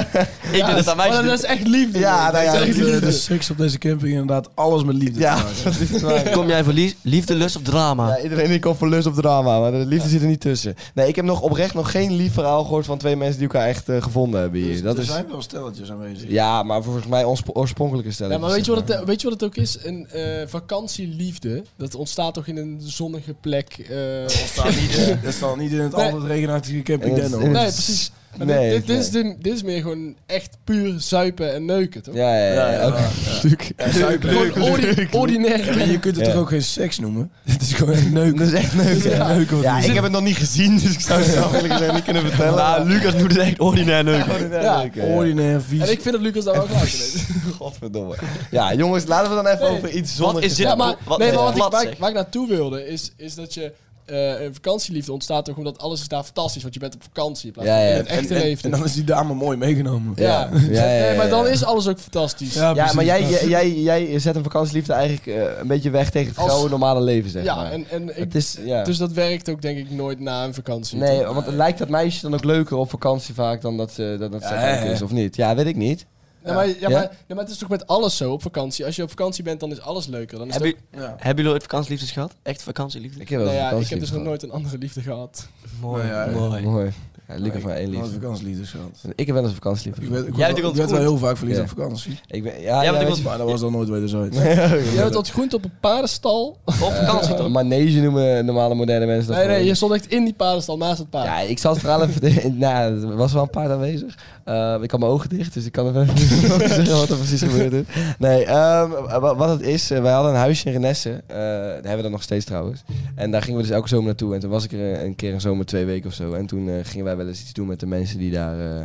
Speaker 3: Ja,
Speaker 5: denk (laughs) dat aan mij...
Speaker 3: maar Oh, dat is echt liefde.
Speaker 2: Ja,
Speaker 3: man.
Speaker 2: nou ja,
Speaker 3: Dat is echt
Speaker 4: de,
Speaker 3: liefde.
Speaker 4: de seks op deze camping inderdaad alles met liefde.
Speaker 2: Ja,
Speaker 4: te maken.
Speaker 2: dat is waar.
Speaker 5: Kom jij voor lief- liefde, lust of drama?
Speaker 2: Ja, iedereen die komt voor lust op drama, maar de liefde zit er niet tussen. Nee, ik heb nog oprecht nog geen lief verhaal gehoord van twee mensen die elkaar echt eh, gevonden hebben hier.
Speaker 4: Dus
Speaker 2: dat
Speaker 4: er
Speaker 2: is,
Speaker 4: zijn wel stelletjes aanwezig.
Speaker 2: Ja, maar volgens mij ons oorspronkelijke stelling.
Speaker 3: Ja, maar weet je, wat het, eh, weet je wat het ook is? Een eh, vakantieliefde, dat ontstaat toch in een zonnige plek? eh,
Speaker 4: Dat staat niet, eh, dat staat niet in het
Speaker 3: Nee.
Speaker 4: altijd regenachtige camping
Speaker 2: En dat-
Speaker 4: Den
Speaker 2: en
Speaker 4: hoor.
Speaker 2: dat-
Speaker 3: nee, precies. Maar
Speaker 2: Nee,
Speaker 3: dit, dit,
Speaker 2: nee.
Speaker 3: Is, de- dit is meer gewoon echt puur zuipen en neuken, toch?
Speaker 2: Ja, ja, ja.
Speaker 4: Ja, ja,
Speaker 2: oké.
Speaker 4: ja.
Speaker 2: Natuurlijk. (laughs)
Speaker 4: zuipen.
Speaker 3: Gewoon ordi- ordinair.
Speaker 4: Maar je kunt het
Speaker 2: Ja.
Speaker 4: toch ook geen
Speaker 2: (laughs)
Speaker 4: seks noemen? Dit is gewoon echt neuken.
Speaker 2: Dat is echt leuk.
Speaker 4: Ja,
Speaker 2: Ja,
Speaker 4: neuken wat
Speaker 2: Ja,
Speaker 4: we
Speaker 2: ik
Speaker 4: doen.
Speaker 2: heb het nog niet gezien, dus ik zou het zelf eerlijk gezegd niet kunnen vertellen.
Speaker 5: Nou, Lucas moet het echt ordinair neuken.
Speaker 3: Ja,
Speaker 2: Ja,
Speaker 4: ordinair vies.
Speaker 3: En ik vind dat Lucas daar wel gelijk in heeft.
Speaker 2: Godverdomme. Ja, jongens, laten we dan even
Speaker 3: Nee.
Speaker 2: over iets
Speaker 5: Wat
Speaker 2: zonnigs
Speaker 5: is dit?
Speaker 3: Ja,
Speaker 2: hebben.
Speaker 3: maar,
Speaker 5: Wat-
Speaker 3: nee,
Speaker 5: wat-
Speaker 3: maar wat
Speaker 5: plat,
Speaker 3: ik, waar,
Speaker 5: zeg.
Speaker 3: ik- waar ik naartoe wilde is, is dat je eh, een vakantieliefde ontstaat toch omdat alles is daar fantastisch, want je bent op vakantie in plaats van
Speaker 2: Ja, ja.
Speaker 3: in het
Speaker 4: En-
Speaker 3: echte
Speaker 4: en-
Speaker 3: leven.
Speaker 4: En dan is die dame mooi meegenomen.
Speaker 3: Ja.
Speaker 2: Ja. Ja, ja, ja,
Speaker 3: Nee, maar dan
Speaker 2: ja.
Speaker 3: is alles ook fantastisch.
Speaker 4: Ja,
Speaker 2: Ja, maar
Speaker 4: precies.
Speaker 2: jij, jij, jij, jij zet een vakantieliefde eigenlijk eh, een beetje weg tegen het
Speaker 3: Als-
Speaker 2: grauwe normale leven, zeg
Speaker 3: Ja,
Speaker 2: maar.
Speaker 3: en, en ik,
Speaker 2: het is, ja.
Speaker 3: dus dat werkt ook denk ik nooit na een vakantie.
Speaker 2: Nee,
Speaker 3: toch?
Speaker 2: want het lijkt dat meisje dan ook leuker op vakantie vaak dan dat ze dat, dat ze
Speaker 4: Ja,
Speaker 2: leuk
Speaker 4: ja, ja.
Speaker 2: is, of niet? Ja, weet ik niet.
Speaker 3: Ja, maar, ja,
Speaker 2: Ja?
Speaker 3: Maar, ja, maar het is toch met alles zo op vakantie. Als je op vakantie bent, dan is alles leuker. Dan is
Speaker 5: Hebben,
Speaker 3: het ook-
Speaker 5: jullie-
Speaker 4: Ja.
Speaker 5: hebben jullie ooit vakantieliefdes gehad? Echt vakantieliefdes?
Speaker 2: Ik heb wel
Speaker 3: nou
Speaker 2: eens
Speaker 3: ja, ik
Speaker 2: vakantie
Speaker 3: heb dus nog
Speaker 2: gehad. Eh,
Speaker 3: nooit een andere liefde gehad.
Speaker 4: Mooi, ja, ja.
Speaker 5: mooi.
Speaker 2: Mooi. Ja, Luca van één
Speaker 4: Wat
Speaker 2: liefde.
Speaker 4: vakantielieders gehad.
Speaker 2: Ik heb wel eens een vakantieliefde.
Speaker 4: Ik werd, ik
Speaker 5: Jij
Speaker 4: werd,
Speaker 5: hebt
Speaker 4: wel- ik
Speaker 5: ook
Speaker 4: werd wel
Speaker 5: ontgroeid.
Speaker 4: heel vaak verliefd
Speaker 2: Ja.
Speaker 4: op vakantie.
Speaker 2: Ik ben, ja,
Speaker 5: Jij
Speaker 2: ja,
Speaker 5: bent
Speaker 2: weet
Speaker 5: iemand-
Speaker 4: Maar dat was dan nooit wederzijds.
Speaker 2: je- (laughs)
Speaker 3: Jij bent ontgroend op een paardenstal.
Speaker 5: Op vakantie toch?
Speaker 2: Eh, manege noemen normale moderne mensen dat
Speaker 3: Nee, nee,
Speaker 2: gewoon.
Speaker 3: je stond echt in die paardenstal naast het paard.
Speaker 2: Ja, ik zal het verhaal even... (laughs) vertellen. nou, er was wel een paard aanwezig. Eh, ik had mijn ogen dicht, dus ik kan even (laughs) niet zeggen
Speaker 5: (laughs)
Speaker 2: wat er precies gebeurd is. Nee, ehm, wa- wat het is, eh, wij hadden een huisje in Renesse. Eh daar hebben we dat nog steeds trouwens. En daar gingen we dus elke zomer naartoe. En toen was ik er eh, een keer een zomer twee weken of zo. En toen eh, gingen wij wel eens iets doen met de mensen die daar, eh,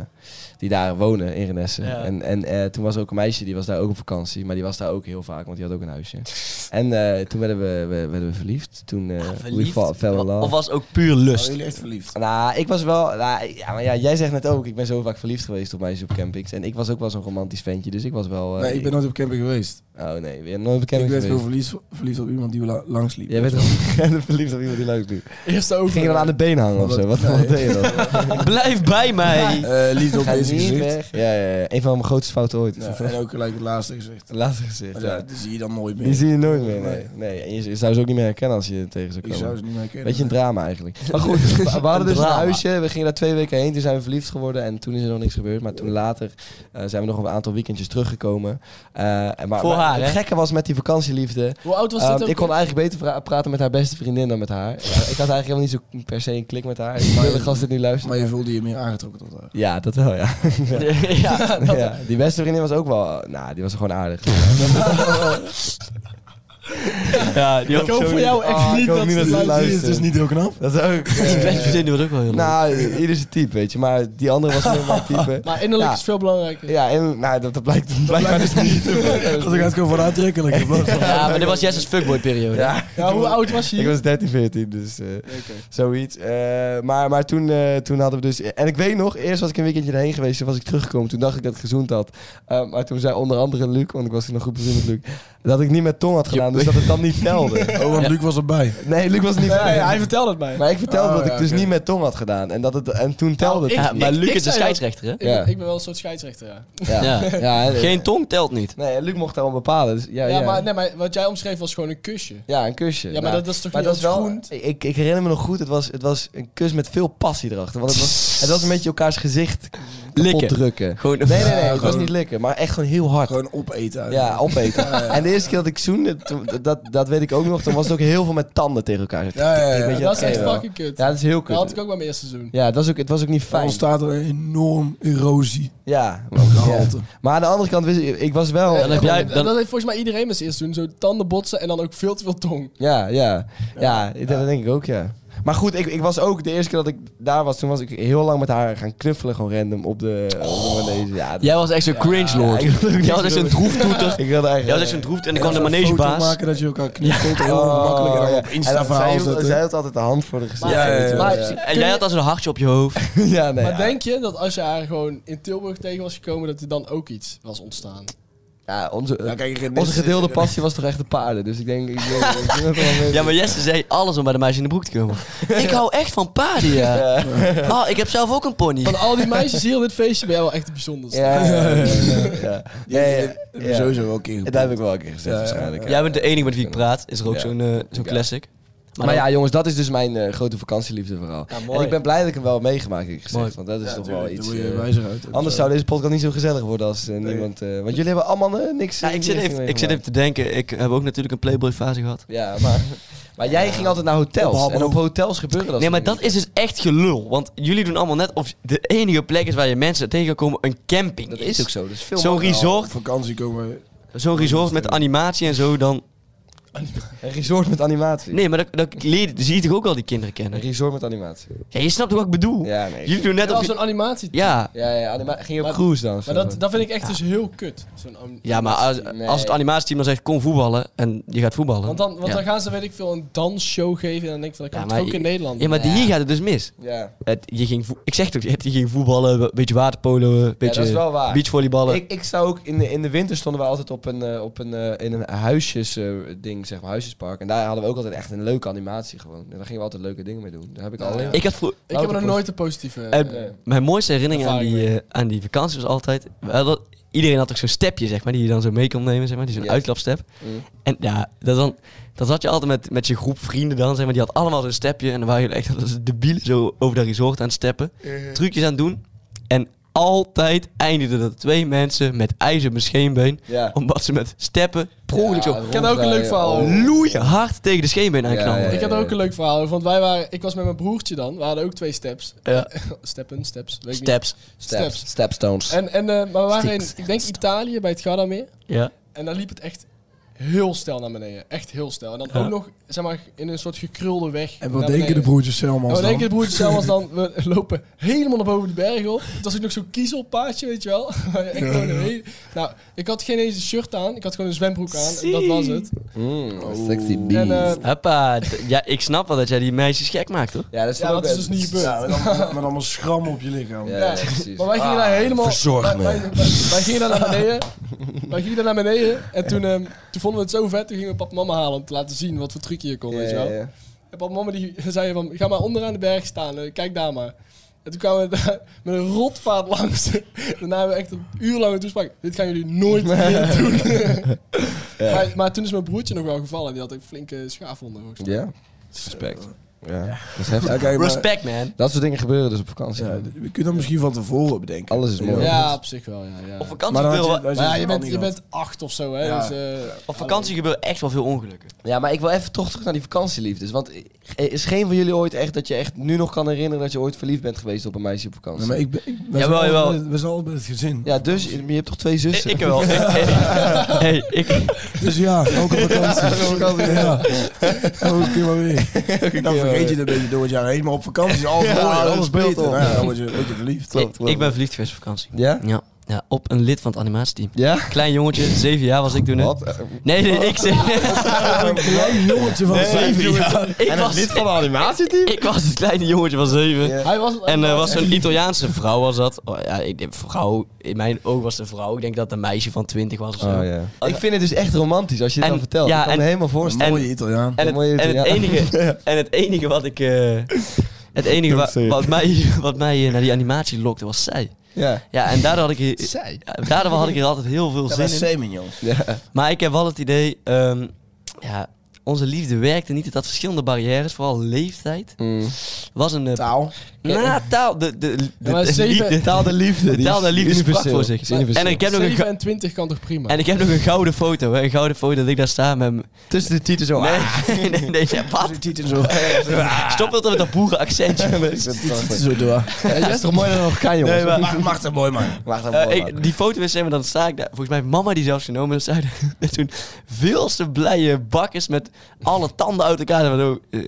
Speaker 2: die daar wonen in Renesse.
Speaker 5: Ja.
Speaker 2: En, en eh, toen was er ook een meisje, die was daar ook op vakantie. Maar die was daar ook heel vaak, want die had ook een huisje. En eh, toen werden we, we- werden we verliefd. Toen eh
Speaker 5: Ah, Verliefd?
Speaker 2: we fa- fell in love.
Speaker 5: Of was het ook puur
Speaker 4: Waren
Speaker 5: lust?
Speaker 4: jullie echt verliefd?
Speaker 2: Nou, ik was wel. Nou, ja, maar ja, jij zegt net ook, ik ben zo vaak verliefd geweest op meisjes op campings. En ik was ook wel zo'n romantisch ventje, dus ik was wel... eh,
Speaker 4: Nee, ik ben nooit op camping geweest.
Speaker 2: Oh nee, weer nooit
Speaker 4: Ik
Speaker 2: bekend
Speaker 4: werd
Speaker 2: geweest.
Speaker 4: gewoon verliefd, verliefd op iemand die la- langs liep.
Speaker 2: Jij bent gewoon (laughs) verliefd op iemand die leuk doet.
Speaker 3: Eerste
Speaker 2: Ging je dan aan
Speaker 3: over.
Speaker 2: de been hangen of zo? Wat, wat deed je dan?
Speaker 5: (laughs) (laughs) Blijf bij mij.
Speaker 4: Eh, liefde (laughs) op
Speaker 2: Ga je
Speaker 4: deze
Speaker 2: niet
Speaker 4: gezicht.
Speaker 2: weg? Ja, ja, ja. Een van mijn grootste fouten ooit.
Speaker 4: Ja, en ook gelijk het laatste gezicht.
Speaker 2: Het (laughs) laatste gezicht.
Speaker 4: Maar
Speaker 2: Ja.
Speaker 4: ja, die zie je dan nooit meer.
Speaker 2: Die zie je nooit meer. Nee.
Speaker 4: Nee.
Speaker 2: nee. En je, je zou ze ook niet meer herkennen als je tegen zou
Speaker 4: Ik
Speaker 2: komen.
Speaker 4: zou ze niet meer kennen.
Speaker 2: Beetje een drama eigenlijk. (laughs) Maar goed, we we hadden dus een
Speaker 5: drama.
Speaker 2: huisje. We gingen daar twee weken heen. Toen zijn we verliefd geworden. En toen is er nog niks gebeurd. Maar toen later eh, zijn we nog een aantal weekendjes teruggekomen. Eh, en maar,
Speaker 5: Voor
Speaker 2: maar
Speaker 5: haar,
Speaker 2: Het
Speaker 5: hè?
Speaker 2: gekke was met die vakantieliefde.
Speaker 3: Hoe oud was dit
Speaker 2: Ehm,
Speaker 3: ook?
Speaker 2: ik kon eigenlijk beter pra- praten met haar beste vriendin dan met haar. Ja, ik had eigenlijk helemaal niet zo per se een klik met haar. Ik wil de gast dit nu luisteren.
Speaker 4: Maar je voelde je meer aangetrokken tot eh, haar.
Speaker 2: Ja, dat wel, (laughs) ja.
Speaker 5: (laughs) ja.
Speaker 2: ja. Die beste vriendin was ook wel... Nou, die was gewoon aardig.
Speaker 5: ja, die
Speaker 3: Ik hoop voor jou echt
Speaker 2: Ah, ik
Speaker 3: niet
Speaker 2: hoop
Speaker 3: dat
Speaker 2: niet
Speaker 3: ze
Speaker 2: dat ze
Speaker 3: luistert.
Speaker 2: luistert. Luister.
Speaker 4: niet heel knap.
Speaker 2: Dat is ook... eh,
Speaker 5: Die beste verzin was ook wel heel leuk.
Speaker 2: Nou, ieder zijn type, weet je. Maar die andere was meer mijn type.
Speaker 3: Maar innerlijk
Speaker 2: Ja.
Speaker 3: is veel belangrijker.
Speaker 2: Ja, en nou, dat, dat blijkt dat blijkbaar dus niet.
Speaker 4: Dat gaat gewoon voor aantrekkelijk.
Speaker 2: (laughs)
Speaker 5: Ja, maar dit was Jesse's fuckboy-periode.
Speaker 2: Ja,
Speaker 3: Ja, hoe oud was
Speaker 2: ik
Speaker 3: je?
Speaker 2: was 13, 14, dus eh, zoiets. Eh, maar maar toen, eh, toen hadden we dus... En ik weet nog, eerst was ik een weekendje erheen geweest. Toen was ik teruggekomen. Toen dacht ik dat ik gezoend had. Eh, maar toen zei onder andere Luc, want ik was toen nog goed bevriend met Luc... dat ik niet met Tom had gedaan, dus dat het dan niet
Speaker 3: (laughs)
Speaker 2: telde.
Speaker 4: Oh, want Luc was erbij.
Speaker 2: Nee, Luc was er niet bij.
Speaker 3: Nee, hij vertelde het mij.
Speaker 2: Maar ik vertelde
Speaker 4: Oh,
Speaker 2: dat
Speaker 4: ja,
Speaker 2: ik dus
Speaker 4: oké.
Speaker 2: niet met Tom had gedaan. En, dat het, en toen telde het.
Speaker 3: Nou,
Speaker 5: Ja,
Speaker 3: ik-
Speaker 5: maar Luc
Speaker 3: ik
Speaker 5: is
Speaker 3: zei
Speaker 5: de
Speaker 3: dat-
Speaker 5: scheidsrechter, hè?
Speaker 3: Ik,
Speaker 2: (laughs) Ja.
Speaker 3: ben, ik ben wel een soort scheidsrechter, ja.
Speaker 2: ja.
Speaker 5: Ja.
Speaker 2: Ja, en-
Speaker 5: Geen tong telt niet.
Speaker 2: Nee, en Luc mocht daarom bepalen. Dus, ja,
Speaker 3: Ja,
Speaker 2: ja.
Speaker 3: Maar, nee, maar wat jij omschreef was gewoon een kusje. Ja,
Speaker 2: Ja, een kusje.
Speaker 3: maar
Speaker 2: Nou,
Speaker 3: dat was toch
Speaker 2: maar
Speaker 3: niet
Speaker 2: het was wel,
Speaker 3: groen?
Speaker 2: ik, ik herinner me nog goed, het was, het was een kus met veel passie erachter. Want het was, het was een beetje elkaars gezicht
Speaker 5: Likken.
Speaker 2: opdrukken.
Speaker 5: Gewoon
Speaker 2: Nee, nee, nee, het was
Speaker 4: gewoon-
Speaker 2: niet likken, maar echt gewoon heel hard.
Speaker 4: Gewoon opeten.
Speaker 2: Ja, opeten. En de eerste keer dat ik zoende, toen- dat, dat weet ik ook nog, toen was het ook heel veel met tanden tegen elkaar. Zo,
Speaker 4: Ja, ja, ja.
Speaker 2: weet je,
Speaker 3: dat is
Speaker 2: ken je
Speaker 3: echt
Speaker 2: wel.
Speaker 3: fucking kut.
Speaker 2: Ja, dat is heel
Speaker 3: dat had
Speaker 2: kut.
Speaker 3: ik ook bij mijn eerste seizoen.
Speaker 2: Ja, het was ook, het was ook niet
Speaker 4: Dan
Speaker 2: fijn.
Speaker 4: ontstaat er een enorm erosie.
Speaker 2: Ja. Ja.
Speaker 4: Gehalte.
Speaker 2: Maar aan de andere kant, wist ik, ik was wel...
Speaker 5: dan heb
Speaker 3: Gewoon-
Speaker 5: jij- dan-
Speaker 3: Dat heeft volgens mij iedereen met zijn eerste seizoen. Zo tanden botsen en dan ook veel te veel tong.
Speaker 2: Ja, ja. Ja, ik- dat denk ik ook, ja. Maar goed, ik, ik was ook de eerste keer dat ik daar was, toen was ik heel lang met haar gaan knuffelen, gewoon random op de,
Speaker 5: Oh.
Speaker 2: op de manege. Ja, dat-
Speaker 5: Jij was echt zo'n cringe lord.
Speaker 2: Ja, ik (laughs) wilde ook
Speaker 5: Jij was
Speaker 2: niks
Speaker 5: echt zo'n
Speaker 2: doen.
Speaker 5: droeftoeter.
Speaker 2: Ik wilde
Speaker 5: Jij was
Speaker 2: eigenlijk...
Speaker 5: echt zo'n droeft en
Speaker 4: Ik
Speaker 5: dan kwam de manegebaas.
Speaker 4: maken dat je elkaar knuffelt. Heel
Speaker 2: Oh,
Speaker 4: gemakkelijk. En dan
Speaker 2: ja.
Speaker 4: op
Speaker 2: En
Speaker 4: Insta
Speaker 2: dan- zij
Speaker 4: verhaal
Speaker 2: hield- Zij
Speaker 4: zetten.
Speaker 2: had altijd de hand voor de gezicht.
Speaker 4: Ja, ja, ja.
Speaker 2: Maar,
Speaker 3: Maar-
Speaker 5: En jij had als een hartje op je hoofd.
Speaker 2: (laughs) ja, nee,
Speaker 3: maar
Speaker 2: ja.
Speaker 3: denk je dat als je haar gewoon in Tilburg tegen was gekomen, dat er dan ook iets was ontstaan?
Speaker 2: Ja, onze,
Speaker 4: Ja, kijk, ik-
Speaker 2: onze gedeelde passie was toch echt de paarden, dus ik denk... Ik, denk- ik, denk dat er wel mee-
Speaker 5: Ja, maar Jesse zei alles om bij de meisjes in de broek te
Speaker 2: (laughs)
Speaker 5: komen. Ik hou echt van paarden, ja. Oh, ik heb zelf ook een pony.
Speaker 3: Van al die meisjes hier op dit feestje ben jij wel echt het bijzonderste.
Speaker 2: Ja, ja, ja, ja, ja.
Speaker 4: Ja,
Speaker 2: Nee,
Speaker 4: ja,
Speaker 2: ja.
Speaker 4: Sowieso wel een keer.
Speaker 2: Dat heb ik wel een keer gezegd,
Speaker 4: Ja, ja,
Speaker 2: waarschijnlijk.
Speaker 5: Jij bent de enige met wie ik praat. Is er ook
Speaker 2: Ja.
Speaker 5: zo'n eh, zo'n
Speaker 2: Ja.
Speaker 5: classic.
Speaker 2: Maar, ja, jongens, dat is dus mijn eh, grote vakantieliefde verhaal.
Speaker 5: Ja, mooi.
Speaker 2: en ik ben blij dat ik hem wel heb meegemaakt, heb ik gezegd.
Speaker 5: Mooi.
Speaker 2: Want dat is
Speaker 4: Ja,
Speaker 2: toch wel
Speaker 4: tuurlijk,
Speaker 2: iets...
Speaker 4: daar word je
Speaker 2: eh,
Speaker 4: wijzer uit.
Speaker 2: anders zou deze podcast niet zo gezellig worden als eh, niemand... eh, want jullie hebben allemaal eh, niks...
Speaker 5: Ja, ik, zit
Speaker 2: niks
Speaker 5: even, ik
Speaker 2: meegemaakt.
Speaker 5: zit even te denken. Ik heb ook natuurlijk een Playboy fase gehad.
Speaker 2: Ja, maar... Maar jij ging altijd naar hotels.
Speaker 4: Op
Speaker 2: en op hotels gebeuren dat
Speaker 5: Nee, maar
Speaker 2: soort
Speaker 5: dat is dus echt gelul. Want jullie doen allemaal net of de enige plek is waar je mensen tegen kan komen een camping
Speaker 2: dingen. Dat
Speaker 5: is.
Speaker 2: is ook zo. Dat is veel
Speaker 5: Zo'n
Speaker 2: makkelijker.
Speaker 4: Op
Speaker 5: resort,
Speaker 4: vakantie komen.
Speaker 5: zo'n resort met animatie en zo dan...
Speaker 2: Een resort met animatie.
Speaker 5: Nee, maar dat, dat leer, zie je toch ook al die kinderen
Speaker 2: Een
Speaker 5: kennen?
Speaker 2: resort met animatie.
Speaker 5: Ja, je snapt toch wat ik bedoel?
Speaker 2: Ja, nee.
Speaker 5: Jullie doen net
Speaker 3: Dat
Speaker 5: of
Speaker 3: was
Speaker 5: je...
Speaker 3: zo'n animatie.
Speaker 5: Ja.
Speaker 2: Ja, ja, anima- ging je op
Speaker 3: Maar-
Speaker 2: cruise dan? of
Speaker 3: Maar
Speaker 2: zo?
Speaker 3: dat, dat vind ik echt dus heel kut. Zo'n am-
Speaker 5: ja, maar als,
Speaker 2: Nee.
Speaker 5: als het animatieteam dan zegt kom voetballen en je gaat voetballen...
Speaker 3: Want, dan, want
Speaker 5: ja.
Speaker 3: dan gaan ze, weet ik veel, een dansshow geven. En dan denk ik van, dat
Speaker 5: Ja,
Speaker 3: kan
Speaker 5: maar
Speaker 3: toch ook
Speaker 5: je-
Speaker 3: in Nederland.
Speaker 5: Ja, maar hier gaat het dus mis.
Speaker 2: Ja.
Speaker 5: Het, je ging vo- ik zeg toch, het, je ging voetballen, een beetje waterpolo, een
Speaker 2: Ja,
Speaker 5: beetje
Speaker 2: dat is wel waar.
Speaker 5: beachvolleyballen.
Speaker 2: Ik, ik zou ook in de, in de winter stonden we altijd op een, eh, op een, eh, in een huisjesding, ding zeg maar, huisjespark. En daar hadden we ook altijd echt een leuke animatie gewoon. En daar gingen we altijd leuke dingen mee doen. Daar heb ik alleen.
Speaker 5: ik had vroeger...
Speaker 3: Ik heb nog
Speaker 2: Louter
Speaker 3: nooit een positieve...
Speaker 5: En
Speaker 3: eh,
Speaker 5: mijn mooiste herinnering aan die,
Speaker 3: Ervaring
Speaker 5: eh, aan die vakantie was altijd... we hadden- iedereen had toch zo'n stepje, zeg maar, die je dan zo mee kon nemen, zeg maar. Die zo'n
Speaker 2: Ja.
Speaker 5: uitklapstep.
Speaker 2: Mm.
Speaker 5: En ja, dat dan, dan zat je altijd met, met je groep vrienden dan, zeg maar. Die had allemaal zo'n stepje. En dan waren jullie echt als debielen zo over dat resort aan het steppen. Trucjes aan het doen. En altijd eindigden er twee mensen met ijs op hun scheenbeen.
Speaker 2: Ja. Oh,
Speaker 5: Omdat ze met steppen per ongeluk zo
Speaker 3: Ik had ook een leuk verhaal.
Speaker 5: loeihard tegen de scheenbeen aanknallen.
Speaker 2: Ja,
Speaker 3: Ik had ook een leuk verhaal. over, Want wij waren, ik was met mijn broertje dan. We hadden ook twee steps.
Speaker 5: Ja.
Speaker 3: (laughs) Steppen, steps. Weet ik niet.
Speaker 5: Eh. Steps.
Speaker 3: Steps.
Speaker 2: Steps. Stepstones.
Speaker 3: En, en, eh, maar we waren in,
Speaker 5: Sticks.
Speaker 3: ik denk Italië, bij het Gardameer.
Speaker 5: Ja.
Speaker 3: En daar liep het echt heel snel naar beneden. Echt heel snel. En dan ook nog, zeg maar, in een soort gekrulde weg.
Speaker 4: En
Speaker 3: naar
Speaker 4: wat denken de
Speaker 3: beneden.
Speaker 4: broertjes Selmans
Speaker 3: Nou,
Speaker 4: dan?
Speaker 3: in één keer de broertjes zelfs dan, we
Speaker 4: (laughs)
Speaker 3: lopen helemaal naar boven de berg op. Het was ook nog zo'n kiezelpaadje, weet je wel. (laughs) Waar je echt gewoon een hele- Nou, ik had geen eens een shirt aan, ik had gewoon een zwembroek aan en dat was het.
Speaker 2: Oh, sexy
Speaker 3: En, eh,
Speaker 5: Huppa, d- ja, ik snap wel dat jij die meisjes gek maakt, hoor.
Speaker 2: ja, dat is,
Speaker 3: ja,
Speaker 2: wel
Speaker 3: dat
Speaker 2: ook
Speaker 3: is
Speaker 2: een-
Speaker 3: dus niet gebeurd.
Speaker 4: Ja, met allemaal- met allemaal schram op je lichaam.
Speaker 2: Ja,
Speaker 3: Ja.
Speaker 2: ja, precies.
Speaker 3: Maar wij gingen daar helemaal...
Speaker 2: Ah, verzorg
Speaker 3: wij,
Speaker 2: me.
Speaker 3: Wij, wij- wij gingen daar naar beneden. wij gingen daar naar beneden. En toen, ehm, toen vonden we het zo vet, toen gingen we pap en mama halen om te laten zien wat voor trucje je kon,
Speaker 2: Ja,
Speaker 3: weet je
Speaker 2: ja,
Speaker 3: wel.
Speaker 2: ja.
Speaker 3: En pap en mama die zeiden van, ga maar onderaan de berg staan, eh, kijk daar maar. En toen kwamen we daar met een rotvaart langs. (laughs) Daarna hebben we echt een uur lang een toespraak. Dit gaan jullie
Speaker 5: (laughs)
Speaker 3: nooit meer doen. (laughs) maar, maar toen is mijn broertje nog wel gevallen. Die had een flinke schaafwonder. volgens mij.
Speaker 2: Ja, respect. Ja, dat is heftig.
Speaker 4: Ja, kijk, maar-
Speaker 5: Respect, man.
Speaker 2: Dat soort dingen gebeuren dus op vakantie.
Speaker 4: Ja, d- je kunt dat misschien van tevoren bedenken.
Speaker 2: Alles is mooi.
Speaker 3: Ja,
Speaker 2: Ja.
Speaker 3: op zich wel. Ja, ja.
Speaker 5: Op
Speaker 3: Maar
Speaker 5: vakantie,
Speaker 4: had
Speaker 5: gebeuren, wel-
Speaker 4: had
Speaker 3: ja,
Speaker 4: het
Speaker 3: je,
Speaker 4: wel
Speaker 3: bent,
Speaker 4: niet
Speaker 3: je
Speaker 4: gehad.
Speaker 3: bent acht of zo. Hè,
Speaker 4: Ja.
Speaker 3: dus, eh,
Speaker 5: op vakantie gebeuren echt wel veel ongelukken.
Speaker 2: Ja, maar ik wil even toch terug naar die vakantieliefdes. Want is geen van jullie ooit echt dat je echt nu nog kan herinneren dat je ooit verliefd bent geweest op een meisje op vakantie?
Speaker 4: Nee, maar ik ben, ik, we,
Speaker 5: Jawel,
Speaker 4: zijn altijd
Speaker 5: jawel.
Speaker 4: met- we zijn altijd met het gezin.
Speaker 2: Ja, dus je je hebt toch twee
Speaker 5: Ik,
Speaker 2: zussen?
Speaker 5: ik wel. Ik- hey, ik,
Speaker 4: Dus ja, ook op vakantie. ja. Elke keer maar weer. En dan vergeet je het een beetje door het jaar heen. Maar op vakantie is alles mooi,
Speaker 2: alles
Speaker 4: alles
Speaker 2: speelt
Speaker 4: beter.
Speaker 2: op.
Speaker 4: Nou ja, dan word je, word je verliefd.
Speaker 2: Klopt,
Speaker 5: ik,
Speaker 2: klopt.
Speaker 5: ik ben verliefd geweest op vakantie.
Speaker 2: Ja?
Speaker 5: Ja. ja, op een lid van het animatieteam.
Speaker 2: Ja?
Speaker 5: Klein jongetje, zeven jaar was ik toen. hè. Nee, nee, ik zeg.
Speaker 4: Een klein jongetje van zeven jaar.
Speaker 5: Ik was, (laughs)
Speaker 2: animatieteam?
Speaker 5: ik was het kleine jongetje van zeven.
Speaker 3: hij was,
Speaker 5: En er was zo'n Italiaanse vrouw was dat. Oh, ja, ik, vrouw, in mijn oog was het een vrouw. Ik denk dat het een meisje van 20 was of zo.
Speaker 2: Oh, ja. Ik vind het dus echt romantisch als je het
Speaker 5: En-
Speaker 2: dan vertelt.
Speaker 5: ja,
Speaker 2: ik kan
Speaker 5: en-
Speaker 2: me helemaal
Speaker 4: Een
Speaker 2: voorstellen.
Speaker 4: mooie Italiaan.
Speaker 5: En,
Speaker 2: Een
Speaker 5: het,
Speaker 2: mooie
Speaker 5: en, het
Speaker 2: Italiaan. (laughs)
Speaker 5: enige, en het enige wat ik... eh, het enige wa- wat mij, wat mij eh, naar die animatie lokte was zij.
Speaker 2: Ja.
Speaker 5: Ja, en daardoor had ik, hier-
Speaker 2: Zij?
Speaker 5: ja, daardoor had ik er altijd heel veel
Speaker 4: Dat
Speaker 5: zin in.
Speaker 4: was Semen, joh.
Speaker 2: Ja.
Speaker 5: Maar ik heb wel het idee, ehm, ja, onze liefde werkte niet. Het had verschillende barrières, vooral leeftijd.
Speaker 2: Mm.
Speaker 5: Was een... eh,
Speaker 4: Taal.
Speaker 5: na taal, de, de, de,
Speaker 3: maar
Speaker 5: de
Speaker 3: zeven-
Speaker 5: liefde,
Speaker 2: Taal de liefde. dus
Speaker 5: de taal der liefde sprak voor zich. En ik heb nog een, ga-
Speaker 3: 27 kan toch prima?
Speaker 5: en ik heb nog een gouden foto, hè, een gouden foto dat ik daar sta met hem.
Speaker 2: tussen de titel zo.
Speaker 5: (laughs) Nee, nee, nee, nee, ja, wat?
Speaker 4: Tieten zo.
Speaker 5: (laughs) Stop dat met dat (laughs) boerenaccentje.
Speaker 4: Tieten zo
Speaker 2: (laughs)
Speaker 4: door.
Speaker 2: Dat is toch mooi dat het nog kan, jongens?
Speaker 5: Nee, maar-
Speaker 4: Mag, mag dat mooi, man.
Speaker 2: Wacht even,
Speaker 5: Eh,
Speaker 2: wacht
Speaker 5: ik, die foto is zeg maar, dan sta ik daar. Volgens mij heeft mama die zelfs genomen. Dan sta ik daar (laughs) met zo'n veel te blije bakkers met alle tanden uit elkaar. En zo, eh,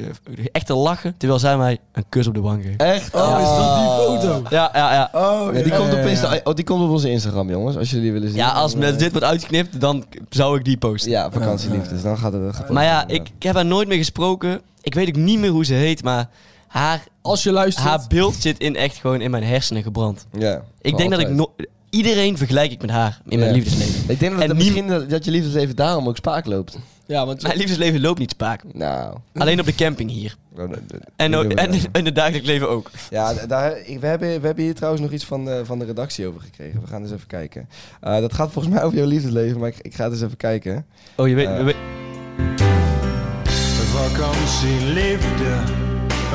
Speaker 5: echt te lachen, terwijl zij mij een kus op de wang geeft.
Speaker 2: Echt? Ah.
Speaker 4: Oh, is dat die foto?
Speaker 5: Ja, ja, ja.
Speaker 4: Oh,
Speaker 2: Ja, die,
Speaker 4: ja,
Speaker 2: komt
Speaker 4: ja,
Speaker 2: op
Speaker 4: ja.
Speaker 2: Insta- oh, die komt op onze Instagram, jongens. Als jullie die willen zien.
Speaker 5: Ja, als
Speaker 2: Dan,
Speaker 5: met
Speaker 2: eh,
Speaker 5: dit wordt uitgeknipt, dan k- zou ik die posten.
Speaker 2: Ja, vakantieliefdes. Dan gaat het... dat gaat het
Speaker 5: Maar ja,
Speaker 2: worden,
Speaker 5: ik, ik heb haar nooit meer gesproken. Ik weet ook niet meer hoe ze heet, maar haar,
Speaker 3: Als je luistert.
Speaker 5: haar beeld zit in echt gewoon in mijn hersenen gebrand.
Speaker 2: Ja, voor
Speaker 5: Ik denk dat ik...
Speaker 2: altijd.
Speaker 5: No iedereen vergelijk ik met haar in mijn
Speaker 2: Ja.
Speaker 5: liefdesleven.
Speaker 2: Ik denk dat, het
Speaker 5: En niem-
Speaker 2: misschien dat, dat je liefdesleven daarom ook spaak loopt.
Speaker 3: ja, want
Speaker 5: Mijn liefdesleven loopt niet (laughs) spaak.
Speaker 2: Nou...
Speaker 5: Alleen op de camping hier. En,
Speaker 2: ook-
Speaker 5: ook- en in het dagelijks leven ook.
Speaker 2: Ja, d- daar, ik- we, hebben, we hebben hier trouwens nog iets van de, van de redactie over gekregen. We gaan eens even kijken. Eh, dat gaat volgens mij over jouw liefdesleven, maar ik, ik ga het eens even kijken.
Speaker 5: Oh, je weet...
Speaker 2: Eh.
Speaker 5: je weet-
Speaker 1: Vakantieliefde,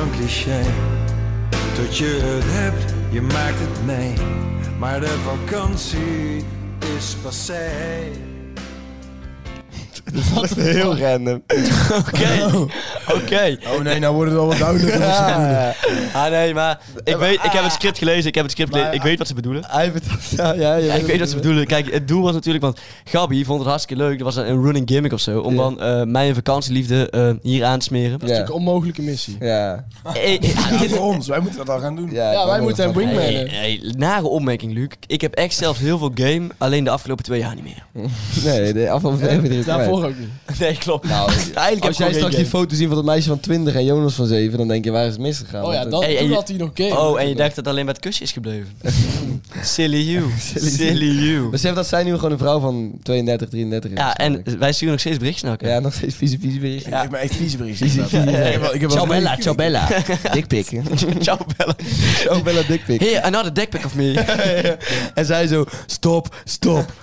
Speaker 1: een cliché. Tot je het hebt, je maakt het mee. Maar de vakantie is passé.
Speaker 2: (laughs) Dat is heel random.
Speaker 5: (laughs) Oké, oké.
Speaker 4: Oh nee, nou wordt het wel wat duidelijker. wat ze bedoelen.
Speaker 2: Ja,
Speaker 5: Ah Ah. nee, maar ik, weet, ik heb het script gelezen, ik heb het script gelezen,
Speaker 2: Maar-
Speaker 5: ik weet wat ze bedoelen.
Speaker 2: hij vertelt- ja, ja, je
Speaker 5: Ja, ik
Speaker 2: het
Speaker 5: weet wat ze
Speaker 2: niet.
Speaker 5: bedoelen. Kijk, het doel was natuurlijk, want Gabi vond het hartstikke leuk. Er was een, een running gimmick of zo. Om
Speaker 2: Ja.
Speaker 5: dan eh mijn vakantieliefde eh, hier aan te smeren.
Speaker 3: dat is natuurlijk een onmogelijke missie.
Speaker 2: (laughs) Ja,
Speaker 5: Eh, eh,
Speaker 4: Ja,
Speaker 5: dit-
Speaker 4: voor ons, wij moeten dat al gaan doen.
Speaker 2: ja,
Speaker 3: Ja, wij
Speaker 2: dat
Speaker 3: moeten
Speaker 2: wordt
Speaker 3: hem
Speaker 2: wel-
Speaker 3: wingman.
Speaker 5: Hey, hey, nare opmerking, Luc. Ik heb echt zelfs heel veel game, alleen de afgelopen twee jaar niet meer. (laughs)
Speaker 2: Nee, de afgelopen twee hebben we er niet
Speaker 3: Daarvoor
Speaker 2: bij.
Speaker 3: ook niet.
Speaker 5: Nee, klopt.
Speaker 2: Nou,
Speaker 5: (laughs) Eigenlijk
Speaker 2: als jij straks die foto ziet van dat meisje van 20 en Jonas van 7, dan denk je waar is het misgegaan?
Speaker 3: Oh ja,
Speaker 2: Want, eh,
Speaker 3: dat,
Speaker 5: Hey, en
Speaker 3: toen
Speaker 5: je-
Speaker 3: had hij nog game.
Speaker 5: Oh, en je dacht dat het alleen met kusjes is
Speaker 2: (laughs)
Speaker 5: gebleven. Silly you.
Speaker 2: Silly
Speaker 5: Silly
Speaker 2: eh,
Speaker 5: you.
Speaker 2: Besef dat zij nu gewoon een vrouw van 32, 33 is.
Speaker 5: Ja,
Speaker 2: waarschijnlijk.
Speaker 5: en wij sturen nog steeds berichtjes naar elkaar.
Speaker 2: Ja, nog steeds vieze, vieze berichten.
Speaker 4: Ik heb me echt vieze berichten. inderdaad. Ik heb wel- ik heb wel-
Speaker 2: ciao
Speaker 4: (laughs)
Speaker 2: Bella. Dikpik.
Speaker 5: (laughs) Ciao, Bella.
Speaker 2: (laughs) Ciao Bella, dikpik.
Speaker 5: Hey, another
Speaker 2: (laughs)
Speaker 5: deckpack of me.
Speaker 2: En zij zo, stop, stop.
Speaker 5: (laughs)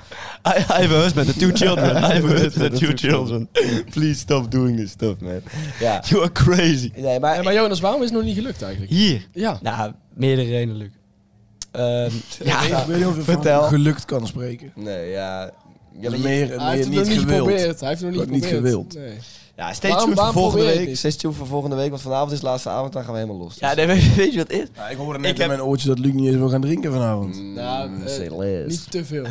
Speaker 5: I, I have a husband and two children. I have a husband and two children.
Speaker 2: Please stop doing this stuff, man. Ja.
Speaker 5: You are crazy.
Speaker 2: Nee,
Speaker 3: Ja,
Speaker 2: maar...
Speaker 3: maar Jonas, waarom is het nog niet gelukt eigenlijk?
Speaker 5: Hier.
Speaker 3: Ja.
Speaker 5: Nou, meerdere redenen, Luc. Ehm, ja,
Speaker 4: Ik weet niet of je
Speaker 2: Vertel.
Speaker 4: van gelukt kan spreken.
Speaker 2: Nee, ja... Ja, maar
Speaker 4: Meer,
Speaker 2: je-
Speaker 4: meer,
Speaker 3: Hij heeft het nog
Speaker 4: niet
Speaker 3: niet
Speaker 4: gewild.
Speaker 3: geprobeerd. Hij heeft het nog
Speaker 4: Wordt
Speaker 3: niet
Speaker 4: niet
Speaker 3: geprobeerd.
Speaker 4: gewild.
Speaker 3: Nee.
Speaker 2: ja, stay
Speaker 3: Waarom-
Speaker 2: tuned voor
Speaker 3: waarom
Speaker 2: volgende
Speaker 3: probeer je het
Speaker 2: week.
Speaker 3: niet?
Speaker 2: Stay tuned voor volgende week, want vanavond is de laatste avond. Dan gaan we helemaal los.
Speaker 5: ja nee, maar weet je wat het is?
Speaker 4: Ja, ik hoorde
Speaker 5: Ik
Speaker 4: net
Speaker 5: heb-
Speaker 4: in mijn oortje dat Luc
Speaker 3: eh,
Speaker 4: niet eens wil gaan drinken vanavond.
Speaker 3: Nou, eh,
Speaker 2: say less.
Speaker 3: niet te veel.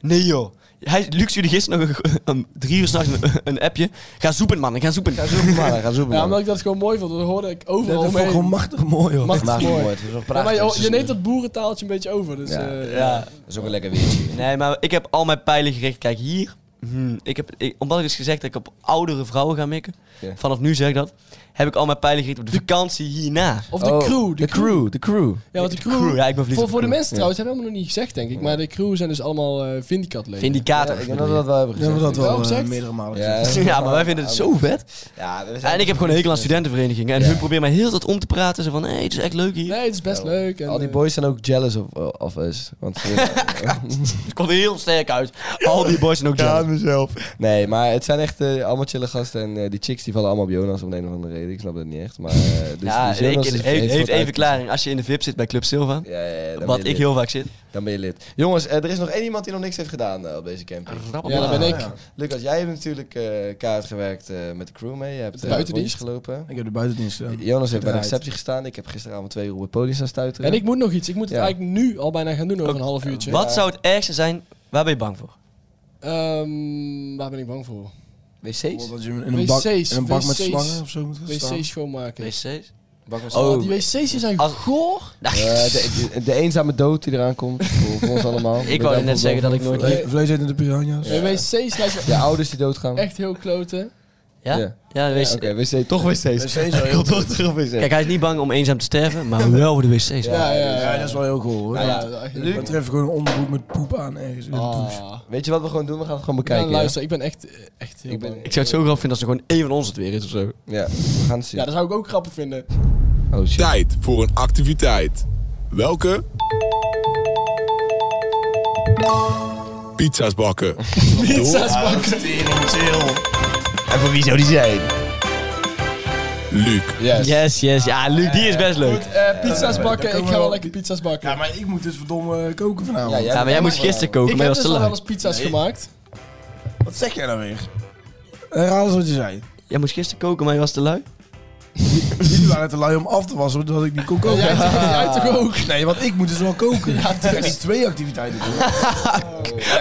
Speaker 5: Nee joh. hij, Luc stuurde gisteren nog een- (laughs) om drie uur s'nachts een, een appje. Ga zoeken, mannen, ga zoeken.
Speaker 2: Ga zoeken, mannen. Ga zoeken,
Speaker 3: Ja,
Speaker 2: mannen.
Speaker 3: omdat ik dat gewoon mooi vond. want Dat hoorde ik overal
Speaker 4: Dat is
Speaker 3: omheen.
Speaker 4: gewoon machtig mooi, hoor.
Speaker 3: Mag-
Speaker 2: Maakt niet
Speaker 3: mooi.
Speaker 2: mooi. Het is wel
Speaker 3: Ja, maar
Speaker 2: prachtig.
Speaker 3: je, je neemt dat boerentaaltje een beetje over. Dus,
Speaker 2: Ja.
Speaker 3: eh,
Speaker 5: Ja.
Speaker 2: Dat is ook een lekker weertje.
Speaker 5: Nee, maar ik heb al mijn pijlen gericht. Kijk, hier. hmm, ik heb, ik- omdat ik dus gezegd dat ik op oudere vrouwen ga mikken.
Speaker 2: Ja.
Speaker 5: Vanaf nu zeg ik dat. Heb ik al mijn pijlen gericht op de vakantie hierna.
Speaker 3: Of de crew. De, crew.
Speaker 2: Oh, De crew.
Speaker 3: Ja, want de crew.
Speaker 5: Ja, ik ben verliefd
Speaker 3: voor,
Speaker 5: op
Speaker 3: voor de
Speaker 5: crew.
Speaker 3: mensen trouwens, hebben we helemaal nog niet gezegd, denk ik. Maar de crew zijn dus allemaal eh Vindicat leden.
Speaker 2: Ja,
Speaker 5: Vindicator.
Speaker 2: ik denk dat we dat wel hebben
Speaker 4: Ja, maar
Speaker 2: gezegd.
Speaker 4: dat
Speaker 3: Wel
Speaker 4: wel eh,
Speaker 3: gezegd.
Speaker 4: meerdere malen.
Speaker 2: Ja.
Speaker 5: (laughs)
Speaker 4: gezegd.
Speaker 5: Ja, maar wij vinden het zo vet.
Speaker 2: Ja, we zijn-
Speaker 5: En ik heb gewoon een hekel aan studentenverenigingen. En hun proberen mij heel dat om te praten. Zo van, hé, het is echt leuk hier.
Speaker 3: Nee, het is best
Speaker 2: Ja,
Speaker 3: leuk. En,
Speaker 2: Al die
Speaker 3: eh,
Speaker 2: boys zijn ook jealous of, eh, of us. Want
Speaker 5: Het komt er heel sterk uit. Al die boys zijn ook jam.
Speaker 2: mezelf. Nee, maar het zijn echt eh, allemaal chille gasten. En eh, die chicks die vallen allemaal op Jonas om de een of andere reden. Ik snap dat niet echt. Maar, eh, dus
Speaker 5: Ja,
Speaker 2: dus Jonas
Speaker 5: ik-
Speaker 2: is-
Speaker 5: heeft, heeft
Speaker 2: wat
Speaker 5: even
Speaker 2: uit-
Speaker 5: verklaring. Als je in de VIP zit bij Club Silva,
Speaker 2: Ja, ja, ja, dan ben
Speaker 5: wat
Speaker 2: je
Speaker 5: ik
Speaker 2: lid.
Speaker 5: heel vaak zit.
Speaker 2: Dan ben je lid. Jongens, eh, er is nog één iemand die nog niks heeft gedaan eh, op deze camping.
Speaker 5: Ah.
Speaker 3: Ja, dat ben ik.
Speaker 4: Ja.
Speaker 2: Lucas, jij hebt natuurlijk eh, kaart gewerkt eh, met de crew mee. Je hebt eh,
Speaker 3: Buitendienst.
Speaker 2: rondjes gelopen.
Speaker 4: Ik heb de buitendienst eh, gedaan.
Speaker 2: Jonas heeft bij de
Speaker 4: Gedraaid.
Speaker 2: receptie gestaan. Ik heb gisteravond twee uur op het podium staan stuiteren.
Speaker 3: En ik moet nog iets. Ik moet het
Speaker 2: Ja.
Speaker 3: eigenlijk nu al bijna gaan doen over
Speaker 5: Ook-
Speaker 3: een half uurtje.
Speaker 5: Wat zou het ergste zijn? Waar ben je bang voor?
Speaker 3: Ehm, waar ben ik bang voor?
Speaker 2: wc's?
Speaker 4: Dat je in een bak,
Speaker 3: wc's,
Speaker 4: in een bak met
Speaker 3: wc's.
Speaker 4: slangen of zo moet gaan staan.
Speaker 3: WC schoonmaken.
Speaker 5: PC's?
Speaker 3: Oh,
Speaker 5: Oh.
Speaker 3: die wc's die zijn
Speaker 5: Als-
Speaker 3: goor.
Speaker 2: Eh, de, de, de eenzame dood die eraan komt voor, voor ons allemaal.
Speaker 5: Ik wou net zeggen dat ik nooit...
Speaker 3: Nee.
Speaker 4: Vle- Vlees eten de piranha's.
Speaker 3: De wc's lijken me
Speaker 2: Je ouders die doodgaan.
Speaker 3: echt heel kloten.
Speaker 5: Ja?
Speaker 2: Ja.
Speaker 5: Ja, de wc's.
Speaker 2: Oké, wc, toch wc's. (laughs) Ik wil toch terug op wc's.
Speaker 5: Kijk, hij is niet bang om eenzaam te sterven, maar wel voor de wc's. man.
Speaker 3: Ja, ja,
Speaker 4: Ja, dat is wel heel cool hoor.
Speaker 3: Nou Ja,
Speaker 4: Dat-
Speaker 3: ja,
Speaker 4: Dan tref ik gewoon een onderbroek met poep aan ergens in de douche.
Speaker 3: Ah.
Speaker 2: Weet je wat we gewoon doen? We gaan het gewoon
Speaker 3: Ja,
Speaker 2: bekijken.
Speaker 3: luister, ik ben echt, echt heel
Speaker 2: Ik ben-
Speaker 3: bang.
Speaker 5: Ik zou het zo grappig vinden als er gewoon één van ons het weer is of zo.
Speaker 2: ja. Ja, we gaan het zien.
Speaker 3: Ja, dat zou ik ook grappig vinden.
Speaker 2: Oh shit.
Speaker 6: Tijd voor een activiteit. Welke? Pizza's bakken.
Speaker 3: Pizza's bakken.
Speaker 2: En voor wie zou die zijn?
Speaker 6: Luc.
Speaker 2: Yes.
Speaker 5: Yes, yes. Ja, Luc, die is best leuk.
Speaker 3: Goed, eh, pizza's bakken.
Speaker 4: daar
Speaker 3: Ik
Speaker 4: komen
Speaker 3: ga
Speaker 4: we
Speaker 3: wel
Speaker 4: wel.
Speaker 3: lekker pizza's bakken.
Speaker 4: Ja, maar ik moet dus verdomme koken vanavond.
Speaker 2: Ja,
Speaker 5: Ja, maar jij moest gisteren koken,
Speaker 3: ik
Speaker 5: maar
Speaker 3: heb
Speaker 5: je
Speaker 3: dus
Speaker 5: was te
Speaker 3: al wel
Speaker 5: laat.
Speaker 3: eens pizza's
Speaker 4: Nee. (laughs)
Speaker 3: gemaakt.
Speaker 4: Wat zeg jij nou weer? Herhaal eens wat je zei.
Speaker 5: Jij moest gisteren koken, maar je was te lui.
Speaker 4: Jullie waren te lui om af te wassen, zodat ik niet kon koken.
Speaker 3: Jij toch- jij toch ook?
Speaker 4: Nee, want ik moet dus wel koken. Ja, ik
Speaker 3: dus.
Speaker 4: ga niet twee
Speaker 3: (laughs)
Speaker 4: activiteiten doen.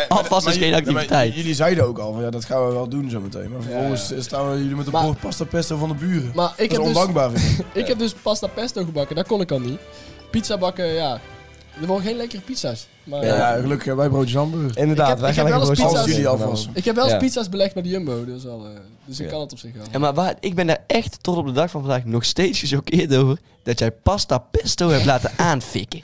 Speaker 5: Alvast is
Speaker 4: Maar
Speaker 5: geen
Speaker 4: jullie- maar
Speaker 5: activiteit.
Speaker 4: Jullie zeiden ook al, van, ja, dat gaan we wel doen zometeen. Maar vervolgens eh, staan we jullie met een
Speaker 3: Maar-
Speaker 4: bord pasta pesto van de buren.
Speaker 3: Maar ik heb
Speaker 4: dat is
Speaker 3: dus,
Speaker 4: ondankbaar, vind ik.
Speaker 3: ik heb dus pasta pesto gebakken. Dat kon ik al niet. Pizza bakken, ja. Er worden geen lekkere pizza's. Maar
Speaker 4: Ja, gelukkig, wij broodjes hamburger.
Speaker 2: Inderdaad,
Speaker 3: Ik heb-
Speaker 2: wij
Speaker 3: ik
Speaker 2: gaan
Speaker 3: heb
Speaker 2: lekker
Speaker 3: wel eens
Speaker 2: broodjes
Speaker 3: pizza's-
Speaker 4: jullie
Speaker 2: eten
Speaker 4: alvast.
Speaker 2: vanavond.
Speaker 3: ik heb wel eens
Speaker 2: Ja.
Speaker 3: pizza's belegd bij de Jumbo. Dus, al, eh, dus ik
Speaker 2: Ja.
Speaker 3: kan het op zich wel.
Speaker 5: Ja, maar waar, ik ben daar echt tot op de dag van vandaag nog steeds gechoqueerd over dat jij pasta pesto hebt laten aanfikken.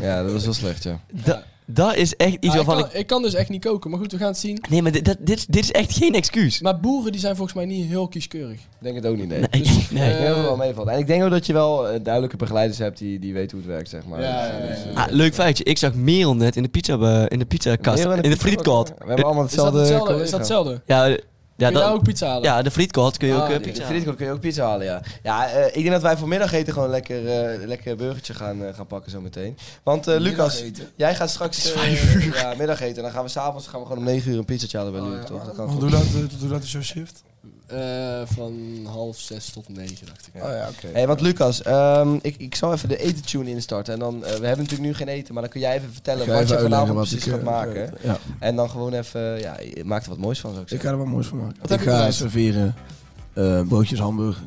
Speaker 2: Ja, dat was wel slecht, ja.
Speaker 5: Da- dat is echt iets
Speaker 3: Ja, ik,
Speaker 5: waarvan
Speaker 3: kan,
Speaker 5: ik...
Speaker 3: ik kan dus echt niet koken. Maar goed, we gaan het zien.
Speaker 5: Nee, maar dit, dat- dit, dit is echt geen excuus.
Speaker 3: Maar boeren die zijn volgens mij niet heel kieskeurig.
Speaker 2: Ik denk het ook niet, nee.
Speaker 5: Nee,
Speaker 2: Ik
Speaker 5: (laughs) nee.
Speaker 2: denk dat het
Speaker 3: Eh,
Speaker 2: wel meevalt. En ik denk ook dat je wel eh, duidelijke begeleiders hebt die, die weten hoe het werkt, zeg maar.
Speaker 3: Ja, ja, ja, ja.
Speaker 2: eh,
Speaker 5: Ah, leuk feitje, ik zag Merel net in de pizza, eh, in de pizzakast,
Speaker 2: Merel en
Speaker 5: in de
Speaker 2: pizza-
Speaker 5: frietkot.
Speaker 2: We hebben allemaal
Speaker 3: Is dat
Speaker 2: hetzelfde
Speaker 3: hetzelfde? Is
Speaker 2: collega.
Speaker 3: dat hetzelfde?
Speaker 5: Ja, eh, ja,
Speaker 3: Kun je daar
Speaker 5: dat,
Speaker 3: ook pizza halen?
Speaker 5: ja, de frietkot kun je ook
Speaker 3: Ah,
Speaker 5: eh,
Speaker 3: die-
Speaker 2: In de
Speaker 5: pizza
Speaker 2: frietkot kun je ook pizza halen, ja. Ja, eh, ik denk dat wij voor middageten gewoon lekker, eh, lekker burgertje gaan, eh, gaan pakken zometeen. Want eh, Lucas,
Speaker 4: Middageten?
Speaker 2: jij gaat straks eh, ja, middageten. En dan gaan we s'avonds gaan we gewoon om 9 uur een pizza halen bij
Speaker 3: Oh,
Speaker 2: Luc, toch? Dat kan
Speaker 4: Want
Speaker 2: goed.
Speaker 4: hoe laat, eh, tot hoe laat is jouw shift?
Speaker 3: Eh, van half zes tot negen, dacht ik.
Speaker 4: Oh ja, oké.
Speaker 2: Hey, want Lucas, ehm, ik, ik zal even de etentune instarten. En dan, eh, we hebben natuurlijk nu geen eten, maar dan kun jij even vertellen
Speaker 4: Ik ga
Speaker 2: wat
Speaker 4: even
Speaker 2: je vanavond
Speaker 4: uitleggen wat
Speaker 2: precies
Speaker 4: ik
Speaker 2: gaat
Speaker 4: eh,
Speaker 2: maken.
Speaker 4: Ja,
Speaker 2: En dan gewoon even, ja, je maakt er wat moois van zou ik
Speaker 4: ik
Speaker 2: zeggen.
Speaker 4: ga er wat moois van maken.
Speaker 3: heb
Speaker 4: ik
Speaker 3: je
Speaker 4: ga
Speaker 3: bereid?
Speaker 4: serveren eh, broodjes hamburger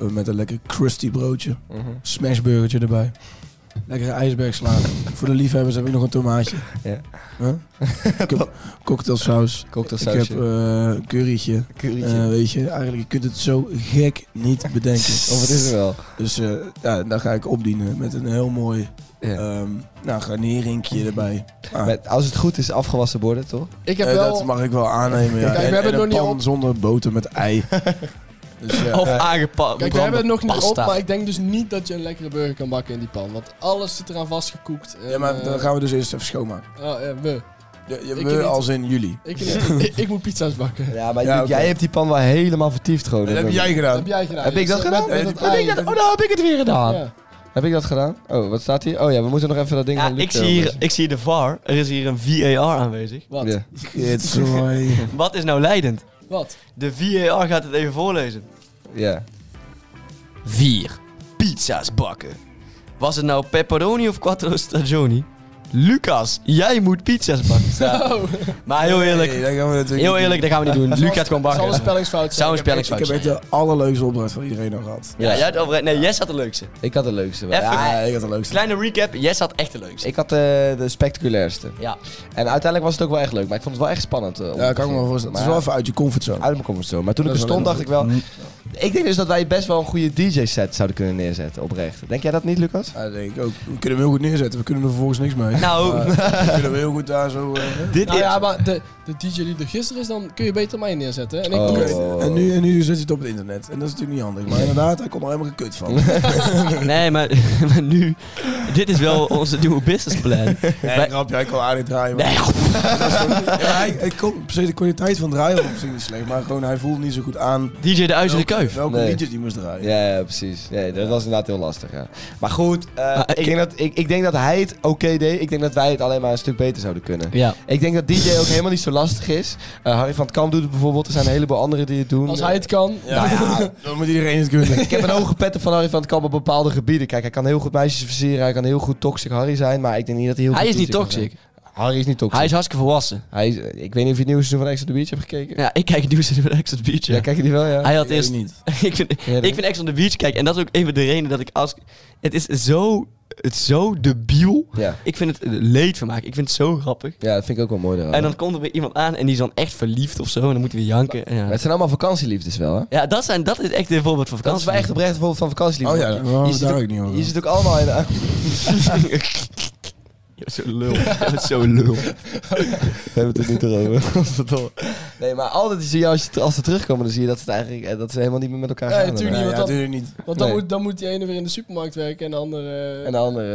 Speaker 4: eh, met een lekker crusty broodje.
Speaker 2: Mhm.
Speaker 4: Smashburgertje erbij. Lekkere ijsbergsla.
Speaker 2: (laughs)
Speaker 4: Voor de liefhebbers heb ik nog een tomaatje.
Speaker 2: Ja. (laughs)
Speaker 4: Huh? Ik heb cocktailsaus. Ik heb
Speaker 2: Cocktailsausje,
Speaker 4: eh currytje.
Speaker 2: currytje.
Speaker 4: Eh, weet je, eigenlijk je kunt het zo gek niet bedenken.
Speaker 2: (laughs) of het is er wel.
Speaker 4: Dus eh ja, dan ga ik opdienen met een heel mooi
Speaker 2: Ja.
Speaker 4: ehm nou, garneringje erbij. Ah,
Speaker 2: Met, als het goed is, afgewassen borden, toch?
Speaker 3: Ik heb
Speaker 4: eh,
Speaker 3: wel...
Speaker 4: Dat mag ik wel aannemen. Ja.
Speaker 3: Kijk, we
Speaker 4: En-
Speaker 3: hebben
Speaker 4: en
Speaker 3: het nog
Speaker 4: een
Speaker 3: niet
Speaker 4: pan
Speaker 3: op.
Speaker 4: zonder boter met
Speaker 3: (laughs)
Speaker 4: ei. dus ja,
Speaker 5: Of aangepakt.
Speaker 3: Kijk, we hebben het nog niet op,
Speaker 5: pasta.
Speaker 3: maar ik denk dus niet dat je een lekkere burger kan bakken in die pan. Want alles zit eraan vastgekookt. en,
Speaker 4: ja, maar
Speaker 3: eh,
Speaker 4: dan gaan we dus eerst even schoonmaken.
Speaker 3: oh, eh, we.
Speaker 4: Ja, ja,
Speaker 3: Ik
Speaker 4: we
Speaker 3: niet.
Speaker 4: als in jullie.
Speaker 3: Ik, niet. (laughs) ik, ik moet pizza's bakken.
Speaker 2: Ja, maar
Speaker 4: Ja,
Speaker 2: Luc,
Speaker 4: oké.
Speaker 2: jij hebt die pan wel helemaal vertiefd gewoon.
Speaker 4: Dat heb jij
Speaker 3: Dat
Speaker 4: gedaan.
Speaker 3: heb jij gedaan.
Speaker 2: Heb ik dat
Speaker 3: Met-
Speaker 2: gedaan?
Speaker 3: met
Speaker 4: Nee,
Speaker 3: het
Speaker 4: dat-
Speaker 3: ei.
Speaker 2: Heb ik dat- oh, nou heb ik het weer gedaan.
Speaker 3: Ja.
Speaker 2: Heb ik dat gedaan? Oh, wat staat hier? Oh ja, we moeten nog even dat ding
Speaker 5: Ja,
Speaker 2: van Luc
Speaker 5: ik zie, hier,
Speaker 2: eh,
Speaker 5: ik zie de VAR. Er is hier een VAR
Speaker 3: (laughs)
Speaker 5: aanwezig.
Speaker 3: Wat?
Speaker 2: Ja.
Speaker 4: It's mooi.
Speaker 5: Wat is nou leidend?
Speaker 3: Wat?
Speaker 5: De VAR gaat het even voorlezen.
Speaker 2: ja.
Speaker 5: 4. Pizza's bakken. Was het nou pepperoni of quattro stagioni? Lucas, jij moet pizza's bakken.
Speaker 4: (laughs)
Speaker 5: Ja. Maar heel
Speaker 4: Oh. Nee,
Speaker 5: eerlijk,
Speaker 4: dat gaan we natuurlijk
Speaker 5: (laughs) heel
Speaker 4: niet
Speaker 5: eerlijk, dat gaan we niet doen. Luc gaat gewoon
Speaker 3: zal een
Speaker 5: bakken.
Speaker 3: spellingsfout zijn.
Speaker 5: Zou een
Speaker 4: doen. Ik
Speaker 5: spellingsfout
Speaker 4: heb echt
Speaker 5: zijn.
Speaker 4: de allerleukste opdracht van iedereen al gehad.
Speaker 5: Ja, jij had over- Nee, Jess had de leukste.
Speaker 2: Ik had de leukste. wel.
Speaker 5: Even-
Speaker 2: Ja,
Speaker 4: Ja, ik had de leukste.
Speaker 5: Kleine recap, Jess had echt de leukste.
Speaker 2: ik had eh, de spectaculairste.
Speaker 5: Ja.
Speaker 2: En uiteindelijk was het ook wel echt leuk. Maar ik vond het wel echt spannend. eh, om
Speaker 4: Ja,
Speaker 2: te
Speaker 4: kan ik me wel
Speaker 2: beginnen.
Speaker 4: voorstellen. Het is
Speaker 2: Maar
Speaker 4: wel
Speaker 2: ja,
Speaker 4: even uit je comfortzone.
Speaker 2: Uit mijn comfortzone. Maar toen ik
Speaker 4: Dat
Speaker 2: er
Speaker 4: is wel
Speaker 2: stond, dacht ik
Speaker 4: heel
Speaker 2: wel... Ik denk dus dat wij best wel een goede DJ-set zouden kunnen neerzetten, oprecht. Denk jij dat niet, Lucas?
Speaker 4: Ja, dat denk ik ook. We kunnen hem heel goed neerzetten. We kunnen er vervolgens niks mee.
Speaker 5: Nou.
Speaker 4: Maar we kunnen hem heel goed daar zo... eh,
Speaker 5: Dit
Speaker 3: Nou
Speaker 5: is...
Speaker 3: ja, maar de, de DJ die er gisteren is, dan kun je beter mij neerzetten. En ik
Speaker 2: Oh.
Speaker 3: doe
Speaker 4: Oké,
Speaker 3: het.
Speaker 4: En, nu, en nu zet je het op het internet. En dat is natuurlijk niet handig. Maar inderdaad, hij kon er helemaal gekut van.
Speaker 5: Nee, maar, (laughs) maar nu... Dit is wel onze nieuwe businessplan.
Speaker 4: (laughs) Nee, grapje, hij kon aardig draaien. maar-
Speaker 5: Nee,
Speaker 4: Ja, hij, hij kon, op zich de kwaliteit van draaien was op zich niet slecht. Maar gewoon, hij voelde niet zo goed aan
Speaker 5: DJ de Uizen de Kuif.
Speaker 4: welke
Speaker 2: Nee.
Speaker 4: liedjes die moest draaien.
Speaker 2: Ja, ja, precies. Ja, dat was inderdaad heel lastig. Ja. Maar goed, eh, ik,
Speaker 5: ik-
Speaker 2: denk dat, ik, ik denk dat hij het oké deed. Ik denk dat wij het alleen maar een stuk beter zouden kunnen.
Speaker 5: Ja.
Speaker 2: Ik denk dat DJ ook helemaal niet zo lastig is. Eh, Harry van het Kamp doet het bijvoorbeeld. Er zijn een heleboel anderen die het doen.
Speaker 3: Als hij het kan.
Speaker 4: Ja, ja, (laughs) dan moet iedereen het kunnen.
Speaker 2: Ik heb een hoge pet van Harry van het Kamp op bepaalde gebieden. Kijk, hij kan heel goed meisjes versieren. Hij kan heel goed toxic Harry zijn. Maar ik denk niet dat hij heel
Speaker 5: Hij
Speaker 2: goed
Speaker 5: is niet
Speaker 2: DJ kan
Speaker 5: toxic.
Speaker 2: zijn. Harry is niet toxic.
Speaker 5: Hij is hartstikke volwassen.
Speaker 2: Hij is- ik weet niet of je het nieuwe seizoen van Extra the Beach hebt gekeken.
Speaker 5: Ja, ik kijk nieuws van Ex on the Beach.
Speaker 2: Ja, kijk je die wel, ja?
Speaker 5: Hij had
Speaker 4: Dat is
Speaker 5: eerst...
Speaker 4: niet.
Speaker 5: (laughs) ik, vind,
Speaker 2: Ja, dat-
Speaker 5: ik vind Ex on the Beach, kijk, en dat is ook even de reden dat ik als... Het is zo... Het is zo debiel.
Speaker 2: ja.
Speaker 5: Ik vind het leedvermaak. Ik vind het zo grappig.
Speaker 2: Ja, dat vind ik ook wel mooi. daaraan.
Speaker 5: En dan komt er weer iemand aan en die is dan echt verliefd of zo. En dan moeten we janken. En
Speaker 2: Maar
Speaker 5: Ja,
Speaker 2: het zijn allemaal vakantieliefdes wel, hè?
Speaker 5: ja dat, zijn, dat is echt een voorbeeld van
Speaker 2: Dat is
Speaker 5: vakantie.
Speaker 2: wel echt
Speaker 5: (laughs)
Speaker 2: oprecht een voorbeeld van
Speaker 4: Oh
Speaker 2: vakantieliefdes.
Speaker 4: ja, daar waren
Speaker 2: Je
Speaker 4: we
Speaker 2: ziet
Speaker 4: daar
Speaker 2: ook-
Speaker 4: ook niet over.
Speaker 2: Je zit ook allemaal in... (laughs) We
Speaker 5: Je bent zo lul. Je bent zo lul.
Speaker 2: hebben het er niet over. Godverdomme. nee, maar altijd zie je, als, je, als ze terugkomen, dan zie je dat ze, het eigenlijk, eh, dat ze helemaal niet meer met elkaar
Speaker 3: Nee,
Speaker 2: gaan.
Speaker 3: tuurlijk
Speaker 4: Ja,
Speaker 3: niet,
Speaker 4: ja,
Speaker 3: want dat-
Speaker 4: natuurlijk niet.
Speaker 3: Want dan,
Speaker 2: Nee.
Speaker 3: moet, dan moet die ene weer in de supermarkt werken en de andere...
Speaker 2: En de andere,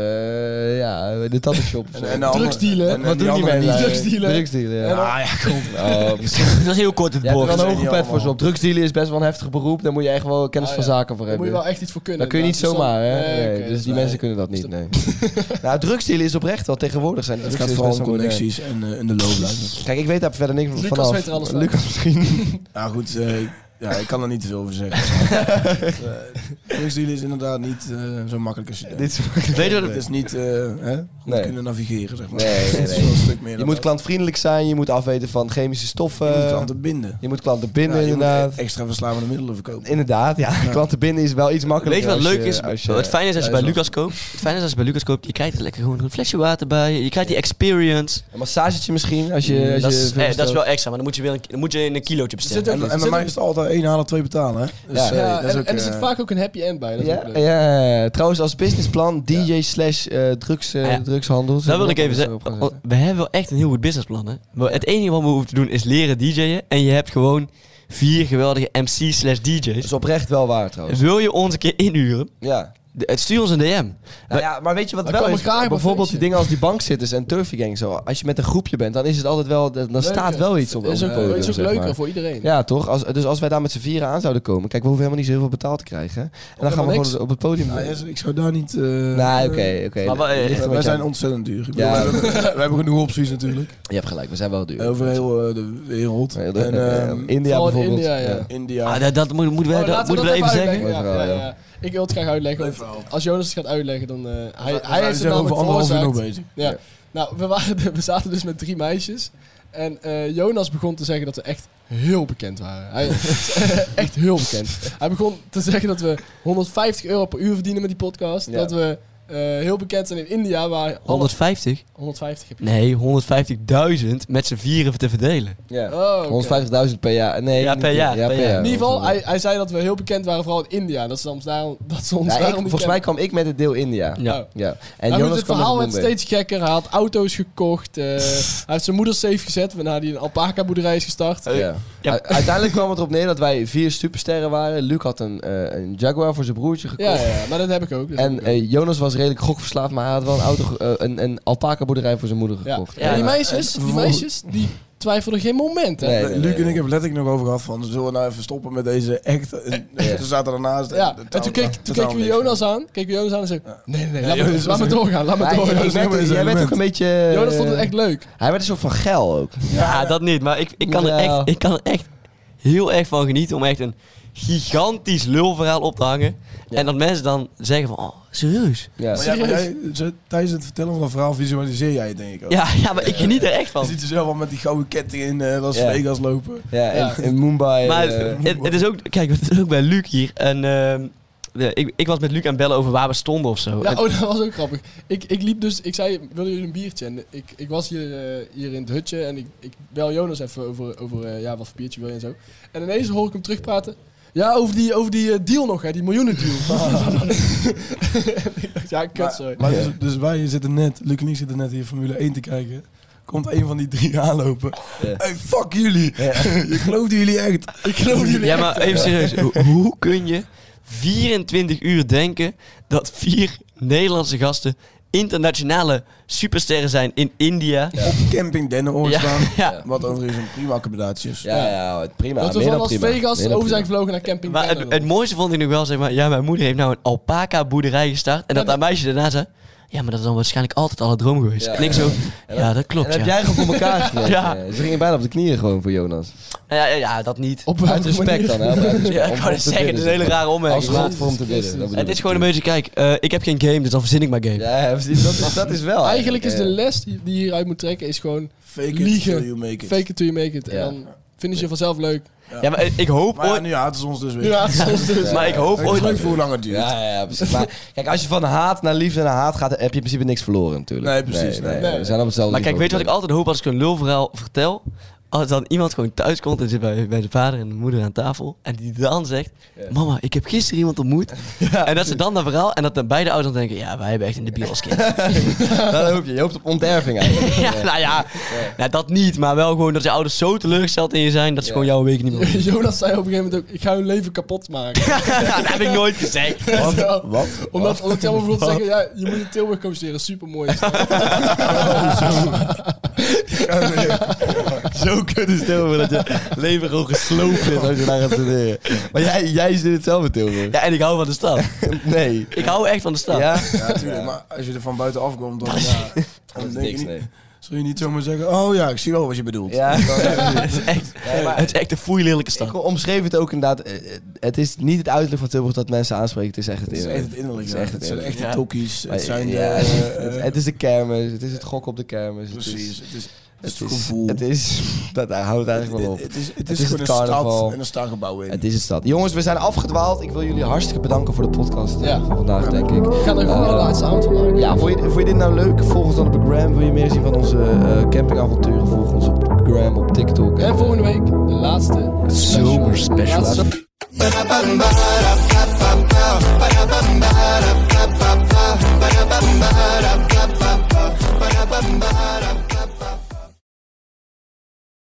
Speaker 2: eh, ja, de tattoo
Speaker 4: En, en de andere-
Speaker 3: Drugsdealen.
Speaker 4: en- en
Speaker 3: Wat
Speaker 4: die
Speaker 3: doen die
Speaker 4: andere
Speaker 3: mensen?
Speaker 4: niet.
Speaker 3: Drugsdealen.
Speaker 2: Drugsdealen, ja.
Speaker 3: dan-
Speaker 4: Ah ja, kom.
Speaker 2: (laughs) Oh, precies.
Speaker 5: Dat is heel kort het
Speaker 2: Je hebt er wel
Speaker 5: woord.
Speaker 2: een
Speaker 4: zijn
Speaker 2: hoge
Speaker 4: niet
Speaker 2: pet voor ze
Speaker 4: allemaal.
Speaker 2: op. Drugsdealen is best wel een heftig beroep. Daar moet je echt wel kennis
Speaker 3: Ah,
Speaker 2: van
Speaker 3: ja.
Speaker 2: zaken voor
Speaker 3: Daar moet je
Speaker 2: hebben.
Speaker 3: wel echt iets voor kunnen.
Speaker 2: Dat kun je niet
Speaker 3: inderdaad.
Speaker 2: zomaar, hè?
Speaker 3: Dus dan-
Speaker 2: Nee,
Speaker 3: oké,
Speaker 2: dus die
Speaker 3: nee.
Speaker 2: mensen kunnen dat niet, nee. nou, drugsdealen is oprecht wel tegenwoordig. Zijn
Speaker 4: Het gaat
Speaker 2: drugsdealen
Speaker 4: vooral om
Speaker 2: best wel modern.
Speaker 4: connecties en eh, in de (laughs) looplijnen.
Speaker 2: Kijk, ik weet daar verder niks
Speaker 3: Lucas
Speaker 2: vanaf.
Speaker 3: weet er alles van.
Speaker 2: Lucas misschien.
Speaker 4: Nou goed, eh, ik- ja, ik kan er niet te veel over zeggen. Eh, Drugsdealen is inderdaad niet eh, zo makkelijk als je denkt.
Speaker 2: Dit is-
Speaker 5: Weet je
Speaker 4: Het
Speaker 5: wat-
Speaker 4: is niet eh, hè, goed
Speaker 2: Nee.
Speaker 4: kunnen navigeren, zeg maar. (laughs)
Speaker 2: Nee, nee,
Speaker 4: Het is
Speaker 2: nee.
Speaker 4: wel een stuk meer
Speaker 2: je
Speaker 4: dan
Speaker 2: moet
Speaker 4: dat.
Speaker 2: klantvriendelijk zijn. Je moet afweten van chemische stoffen.
Speaker 4: Je moet klanten binden.
Speaker 2: Je moet klanten binden,
Speaker 4: Ja, je moet
Speaker 2: inderdaad.
Speaker 4: extra verslavende middelen verkopen.
Speaker 2: Inderdaad, ja. Klanten binnen is wel iets
Speaker 5: Weet je
Speaker 2: makkelijker.
Speaker 5: wat
Speaker 2: als
Speaker 5: leuk is?
Speaker 2: als je-
Speaker 5: het fijn is als je
Speaker 4: Ja,
Speaker 5: bij
Speaker 4: is wel.
Speaker 5: Lucas koopt. Het fijn is als je bij Lucas koopt. Je krijgt er lekker gewoon een flesje water bij. Je krijgt die experience.
Speaker 2: Een massagetje misschien, als je... Als
Speaker 5: dat,
Speaker 2: je
Speaker 5: is,
Speaker 2: veel
Speaker 5: eh, dat is wel
Speaker 2: bestelt.
Speaker 5: extra. Maar dan moet je, weer een, dan moet je een kilootje bestellen.
Speaker 3: Zit er-
Speaker 4: En, en bij mij is het altijd één halen, twee betalen. Hè? Dus,
Speaker 2: Ja.
Speaker 4: eh,
Speaker 3: Ja,
Speaker 4: dat is
Speaker 3: en,
Speaker 4: ook,
Speaker 3: en er
Speaker 4: eh,
Speaker 3: zit vaak ook een happy end bij. Dat is ook leuk.
Speaker 2: Ja, ja, ja. trouwens als businessplan DJ slash eh, drugs, eh,
Speaker 5: Ah, ja.
Speaker 2: drugshandel.
Speaker 5: Dat
Speaker 2: Zullen
Speaker 5: wil
Speaker 2: we
Speaker 5: ik even
Speaker 2: dat erop gaan
Speaker 5: zeggen. Oh, We hebben wel echt een heel goed businessplan. Hè? Maar het enige wat we hoeven te doen is leren DJ'en. En je hebt gewoon vier geweldige MC's slash
Speaker 2: Dat is
Speaker 5: DJ's.
Speaker 2: oprecht wel waar trouwens.
Speaker 5: Wil je ons een keer inhuren?
Speaker 2: Ja.
Speaker 5: De- het Stuur ons een DM.
Speaker 2: Nou ja, maar weet je wat
Speaker 3: Dan
Speaker 2: wel
Speaker 3: komen
Speaker 2: is?
Speaker 3: we graag op een
Speaker 2: Bijvoorbeeld
Speaker 3: feestje.
Speaker 2: die dingen als die bankzitters en turfy gang zo. Als je met een groepje bent, dan is het altijd wel, dan staat wel iets op, op
Speaker 3: is
Speaker 2: het
Speaker 3: ook,
Speaker 2: podium,
Speaker 3: is ook
Speaker 2: zeg
Speaker 3: leuker
Speaker 2: maar.
Speaker 3: voor iedereen. Oh,
Speaker 2: Ja, toch? Als, dus als wij daar met z'n vieren aan zouden komen, kijk, we hoeven helemaal niet zo heel veel betaald te krijgen. En dan gaan we
Speaker 3: helemaal
Speaker 2: gewoon
Speaker 3: niks.
Speaker 2: op het podium.
Speaker 4: nou,
Speaker 2: nee,
Speaker 4: ja, ik zou daar niet... eh,
Speaker 2: Nou, oké,
Speaker 4: eh,
Speaker 2: oké.
Speaker 5: Maar wel, eh,
Speaker 2: Ligt er een
Speaker 4: Wij
Speaker 2: beetje
Speaker 4: zijn
Speaker 2: aan.
Speaker 4: ontzettend duur. Ik
Speaker 2: Ja.
Speaker 4: bedoel, we, hebben, (laughs) we hebben genoeg opties natuurlijk.
Speaker 2: Je hebt gelijk, we zijn wel duur.
Speaker 4: Over heel eh, de wereld.
Speaker 2: Eh,
Speaker 4: en
Speaker 2: eh,
Speaker 4: ehm,
Speaker 2: India
Speaker 3: Vooral in
Speaker 2: bijvoorbeeld.
Speaker 3: India, ja.
Speaker 4: India.
Speaker 5: Ah, dat, dat moet- moeten we,
Speaker 3: Oh,
Speaker 5: dat,
Speaker 3: laten we
Speaker 5: moeten we
Speaker 3: dat
Speaker 5: even zeggen.
Speaker 3: uitleggen.
Speaker 2: Overal,
Speaker 3: Ja, ja,
Speaker 2: ja.
Speaker 3: ja. Ik wil het graag uitleggen. want
Speaker 4: Leuk verhaal.
Speaker 3: als Jonas het gaat uitleggen, dan... eh, hij
Speaker 4: we
Speaker 3: hij
Speaker 4: zijn
Speaker 3: heeft het
Speaker 4: zo
Speaker 3: namelijk
Speaker 4: over anderhalf uur nog
Speaker 3: veroorzaakt.
Speaker 4: bezig.
Speaker 3: Ja.
Speaker 2: Ja.
Speaker 3: Nou, we, waren, (laughs) we zaten dus met drie meisjes. En eh, Jonas begon te zeggen dat we echt heel bekend waren. Hij, (laughs) echt heel bekend. Hij begon te zeggen dat we 150 euro per uur verdienen met die podcast.
Speaker 2: Ja.
Speaker 3: Dat we eh, heel bekend zijn in India, waar...
Speaker 5: 150?
Speaker 3: 150 heb je.
Speaker 5: Nee, 150.000 met z'n vieren te verdelen.
Speaker 2: Ja.
Speaker 3: Oh, oké.
Speaker 2: 150.000 per jaar. Nee,
Speaker 5: Ja,
Speaker 2: niet-
Speaker 5: per jaar, per jaar.
Speaker 3: In ieder geval, hij, hij zei dat we heel bekend waren, vooral in India. Dat ze ons daarom, (laughs) dat ze ons
Speaker 2: Ja, ik-
Speaker 3: daarom niet
Speaker 2: volgens mij
Speaker 3: kennen.
Speaker 2: kwam ik met het deel India.
Speaker 5: Ja.
Speaker 3: Oh.
Speaker 2: Ja. En
Speaker 3: Hij moet
Speaker 2: Jonas
Speaker 3: het
Speaker 2: kwam met
Speaker 3: verhaal
Speaker 2: het
Speaker 3: werd
Speaker 2: Bombay.
Speaker 3: steeds gekker. Hij had auto's gekocht.
Speaker 2: (laughs)
Speaker 3: eh, hij heeft zijn moeder safe gezet. Waarna hij een alpaca boerderij is gestart.
Speaker 2: Ja.
Speaker 5: Eh, Ja.
Speaker 2: U- Uiteindelijk kwam het erop neer dat wij vier supersterren waren. Luc had een, eh, een Jaguar voor zijn broertje
Speaker 3: ja,
Speaker 2: gekocht.
Speaker 3: ja, ja, maar dat heb ik ook. Dus dat heb
Speaker 2: En
Speaker 3: ik ook.
Speaker 2: eh, Jonas was redelijk gokverslaafd, maar hij had wel een, auto, ge- eh, een, een alpaca boerderij voor zijn moeder
Speaker 3: ja.
Speaker 2: gekocht.
Speaker 3: En die
Speaker 5: Ja.
Speaker 3: meisjes, die meisjes, die twijfelden geen moment. Hè?
Speaker 2: Nee.
Speaker 4: Luc en ik hebben letterlijk nog over gehad van, zullen we nou even stoppen met deze echt? En,
Speaker 2: Ja.
Speaker 4: Ze zaten ernaast.
Speaker 3: Ja,
Speaker 4: totaal-
Speaker 3: en toen, keek, toen
Speaker 4: totaal
Speaker 3: keken we
Speaker 4: niks.
Speaker 3: Jonas aan. Keken we Jonas aan en zei... Nee, nee, nee, laat,
Speaker 4: Jonas
Speaker 3: me,
Speaker 4: was
Speaker 3: laat me
Speaker 4: een-
Speaker 3: doorgaan. Laat me
Speaker 2: Hij-
Speaker 3: doorgaan.
Speaker 2: ik
Speaker 4: is
Speaker 2: merkte-
Speaker 4: helemaal
Speaker 2: jij bent ook
Speaker 4: element.
Speaker 2: een beetje... eh,
Speaker 3: Jonas vond het echt leuk.
Speaker 2: Hij werd een soort van geil ook.
Speaker 5: Ja, dat Ah, niet. Maar ik, ik, kan er
Speaker 2: Ja.
Speaker 5: echt, ik kan er echt heel erg van genieten om echt een gigantisch lulverhaal op te hangen. En dat mensen dan zeggen van, oh, serieus?
Speaker 2: Ja.
Speaker 4: Maar jij- maar jij- zo- tijdens het vertellen van het verhaal visualiseer jij het, denk ik ook.
Speaker 5: Ja, ja maar ik geniet er echt
Speaker 4: Je
Speaker 5: van.
Speaker 4: ziet jezelf al met die gouden ketting in eh, Las
Speaker 2: Ja.
Speaker 4: Vegas lopen.
Speaker 2: Ja,
Speaker 3: Ja.
Speaker 2: In, in Mumbai.
Speaker 5: Maar
Speaker 2: eh,
Speaker 5: het, het is ook, kijk, het is ook bij Luc hier. En, ehm, de- ik, ik was met Luc aan het bellen over waar we stonden of zo.
Speaker 3: Ja,
Speaker 5: En-
Speaker 3: oh, dat was ook grappig. Ik, ik liep dus, ik zei, willen jullie een biertje? En ik, ik was hier, eh, hier in het hutje en ik, ik bel Jonas even over, over eh, ja, wat voor biertje wil je en zo. En ineens hoor ik hem terugpraten. Ja, over die, over die eh, deal nog, hè, die miljoenen deal. (laughs)
Speaker 2: (laughs)
Speaker 3: ja, kut, sorry.
Speaker 4: Maar dus, dus wij zitten net, Luc en ik zitten net hier Formule 1 te kijken. Komt een van die drie aanlopen.
Speaker 2: Ja.
Speaker 4: Hey, fuck jullie. (laughs) Je geloofde jullie echt.
Speaker 3: Ik geloof jullie
Speaker 5: Ja, maar even serieus. Ho- Hoe kun je 24 uur denken dat vier Nederlandse gasten internationale supersterren zijn in India?
Speaker 4: Op camping Dennenoord
Speaker 5: Ja,
Speaker 4: staan.
Speaker 5: ja.
Speaker 4: Wat overigens een prima accommodatie is.
Speaker 2: ja, ja, prima.
Speaker 3: Dat we
Speaker 2: meer
Speaker 3: van
Speaker 2: dan
Speaker 3: Las
Speaker 2: prima.
Speaker 3: Vegas
Speaker 2: Meer dan
Speaker 3: over zijn
Speaker 2: prima.
Speaker 3: gevlogen naar Camping
Speaker 5: Maar het,
Speaker 3: Dennenland.
Speaker 5: het mooiste vond ik nog wel, zeg maar, ja, mijn moeder heeft nou een alpaca boerderij gestart. En dat dat meisje daarna zei, ja, maar dat is dan waarschijnlijk altijd al een droom geweest.
Speaker 2: Ja.
Speaker 5: en ik zo, ja, dat
Speaker 2: En
Speaker 5: klopt,
Speaker 2: heb
Speaker 5: ja.
Speaker 2: jij gewoon voor elkaar gekregen.
Speaker 5: Ja.
Speaker 2: Eh, Ze gingen bijna op de knieën gewoon voor Jonas.
Speaker 5: Nou ja, ja, ja, dat niet.
Speaker 3: Op welke
Speaker 2: Uit respect
Speaker 3: manier?
Speaker 2: dan,
Speaker 3: (laughs)
Speaker 2: hè? om- uit respect,
Speaker 5: Ja,
Speaker 2: om-
Speaker 5: ik
Speaker 2: om
Speaker 5: wou
Speaker 2: te
Speaker 5: net zeggen, het is een
Speaker 2: bidden.
Speaker 5: hele rare
Speaker 2: Als
Speaker 5: opmerking. maar
Speaker 2: God voor hem te bidden. dat bedoel
Speaker 5: Het is
Speaker 2: ik
Speaker 5: gewoon een beetje, kijk, eh, ik heb geen game, dus dan verzin ik mijn game.
Speaker 2: Ja, ja, precies, dat is, dat is wel.
Speaker 3: Eigenlijk is de
Speaker 2: eh,
Speaker 3: les die die je hieruit moet trekken, is gewoon
Speaker 4: Fake it
Speaker 3: Liegen.
Speaker 4: till you make it.
Speaker 3: fake it till you make it. En
Speaker 2: Ja.
Speaker 3: dan vinden ze je vanzelf leuk.
Speaker 5: Ja, maar ik hoop
Speaker 4: Maar ja,
Speaker 5: ooit...
Speaker 4: nu haten ze ons dus weer.
Speaker 3: (laughs) Ja, soms dus.
Speaker 5: Maar ik hoop
Speaker 4: Het is
Speaker 5: ooit...
Speaker 4: leuk voor hoe lang het duurt. (laughs)
Speaker 2: Ja, ja, ja, precies. Maar kijk, als je van haat naar liefde naar haat gaat, heb je in principe niks verloren natuurlijk.
Speaker 4: Nee, precies, nee.
Speaker 3: Nee.
Speaker 2: We zijn op hetzelfde
Speaker 5: Maar kijk, weet je wat ik
Speaker 2: al...
Speaker 5: altijd hoop als ik een lulverhaal vertel? Als dan iemand gewoon thuis komt en zit bij, bij de vader en de moeder aan tafel. En die dan zegt, mama, ik heb gisteren
Speaker 2: (laughs)
Speaker 5: iemand ontmoet. En dat ze dan dat verhaal en dat dan beide ouders dan denken, ja, wij hebben echt in de bios
Speaker 2: (laughs)
Speaker 5: kind. (laughs)
Speaker 2: Dat Nou, hoop je. Je hoopt op onterving eigenlijk.
Speaker 5: ja, nou ja, nou, dat niet. Maar wel gewoon dat je ouders zo teleurgesteld in je zijn dat ze
Speaker 2: Ja.
Speaker 5: gewoon jou een week niet
Speaker 2: (laughs)
Speaker 5: meer ontmoeten.
Speaker 3: Jonas zei op een gegeven moment ook, ik ga hun leven kapot maken.
Speaker 5: (laughs) dat heb ik nooit gezegd.
Speaker 3: Zo.
Speaker 4: Wat?
Speaker 3: Omdat, omdat jij bijvoorbeeld zeggen, ja, je moet in Tilburg komen studeren,
Speaker 5: (laughs)
Speaker 3: supermooi.
Speaker 5: (laughs) Zo kunnen stellen dat je leven gewoon gesloopt is.
Speaker 2: Als je daar gaat studeren. Maar jij, jij zit hetzelfde, Tilburg.
Speaker 5: Ja, en ik hou van de stad.
Speaker 2: Nee.
Speaker 5: Ik hou echt van de stad.
Speaker 2: Ja?
Speaker 4: Ja, natuurlijk. Maar als je er van buiten
Speaker 2: (laughs)
Speaker 4: afkomt, dan, ja, dan
Speaker 2: Dat is
Speaker 4: denk je
Speaker 2: niks,
Speaker 4: niet,
Speaker 2: nee.
Speaker 4: zul je niet zomaar zeggen, oh ja, ik zie wel wat je bedoelt.
Speaker 2: Ja.
Speaker 5: Het is echt,
Speaker 2: Nee, maar-
Speaker 5: het is echt een foeilelijke stad.
Speaker 2: Ik omschreef het ook inderdaad. eh, eh, Het is niet het uiterlijk van Tilburg dat mensen aanspreken. Het is echt het
Speaker 4: Het is echt het innerlijk.
Speaker 2: Het is
Speaker 4: Het,
Speaker 2: echt het
Speaker 4: het zijn echt
Speaker 2: innerlijke.
Speaker 4: de
Speaker 5: Ja.
Speaker 4: tokkies. Het zijn de...
Speaker 2: Ja,
Speaker 4: eh,
Speaker 2: het,
Speaker 4: eh,
Speaker 2: het is de kermis. Het is het gokken op de kermis.
Speaker 4: precies. Het is
Speaker 2: Het is
Speaker 4: het gevoel.
Speaker 2: Het is... Dat houdt eigenlijk wel op.
Speaker 4: Het is, het
Speaker 2: is
Speaker 4: is
Speaker 2: het
Speaker 4: gewoon een
Speaker 2: carnaval.
Speaker 4: stad en er staan gebouwen in.
Speaker 2: Het is het stad. Jongens, we zijn afgedwaald. Ik wil jullie hartstikke bedanken voor de podcast eh,
Speaker 3: Ja.
Speaker 2: van vandaag, denk ik.
Speaker 3: Ik ga er een goede
Speaker 2: Eh,
Speaker 3: laatste avond van maken.
Speaker 2: Ja, vond je, vond je dit nou leuk? Volg ons dan op de gram. Wil je meer zien van onze eh, campingavonturen? Volg ons op de gram, op TikTok.
Speaker 3: En volgende week de laatste
Speaker 5: Super special.
Speaker 3: Laatste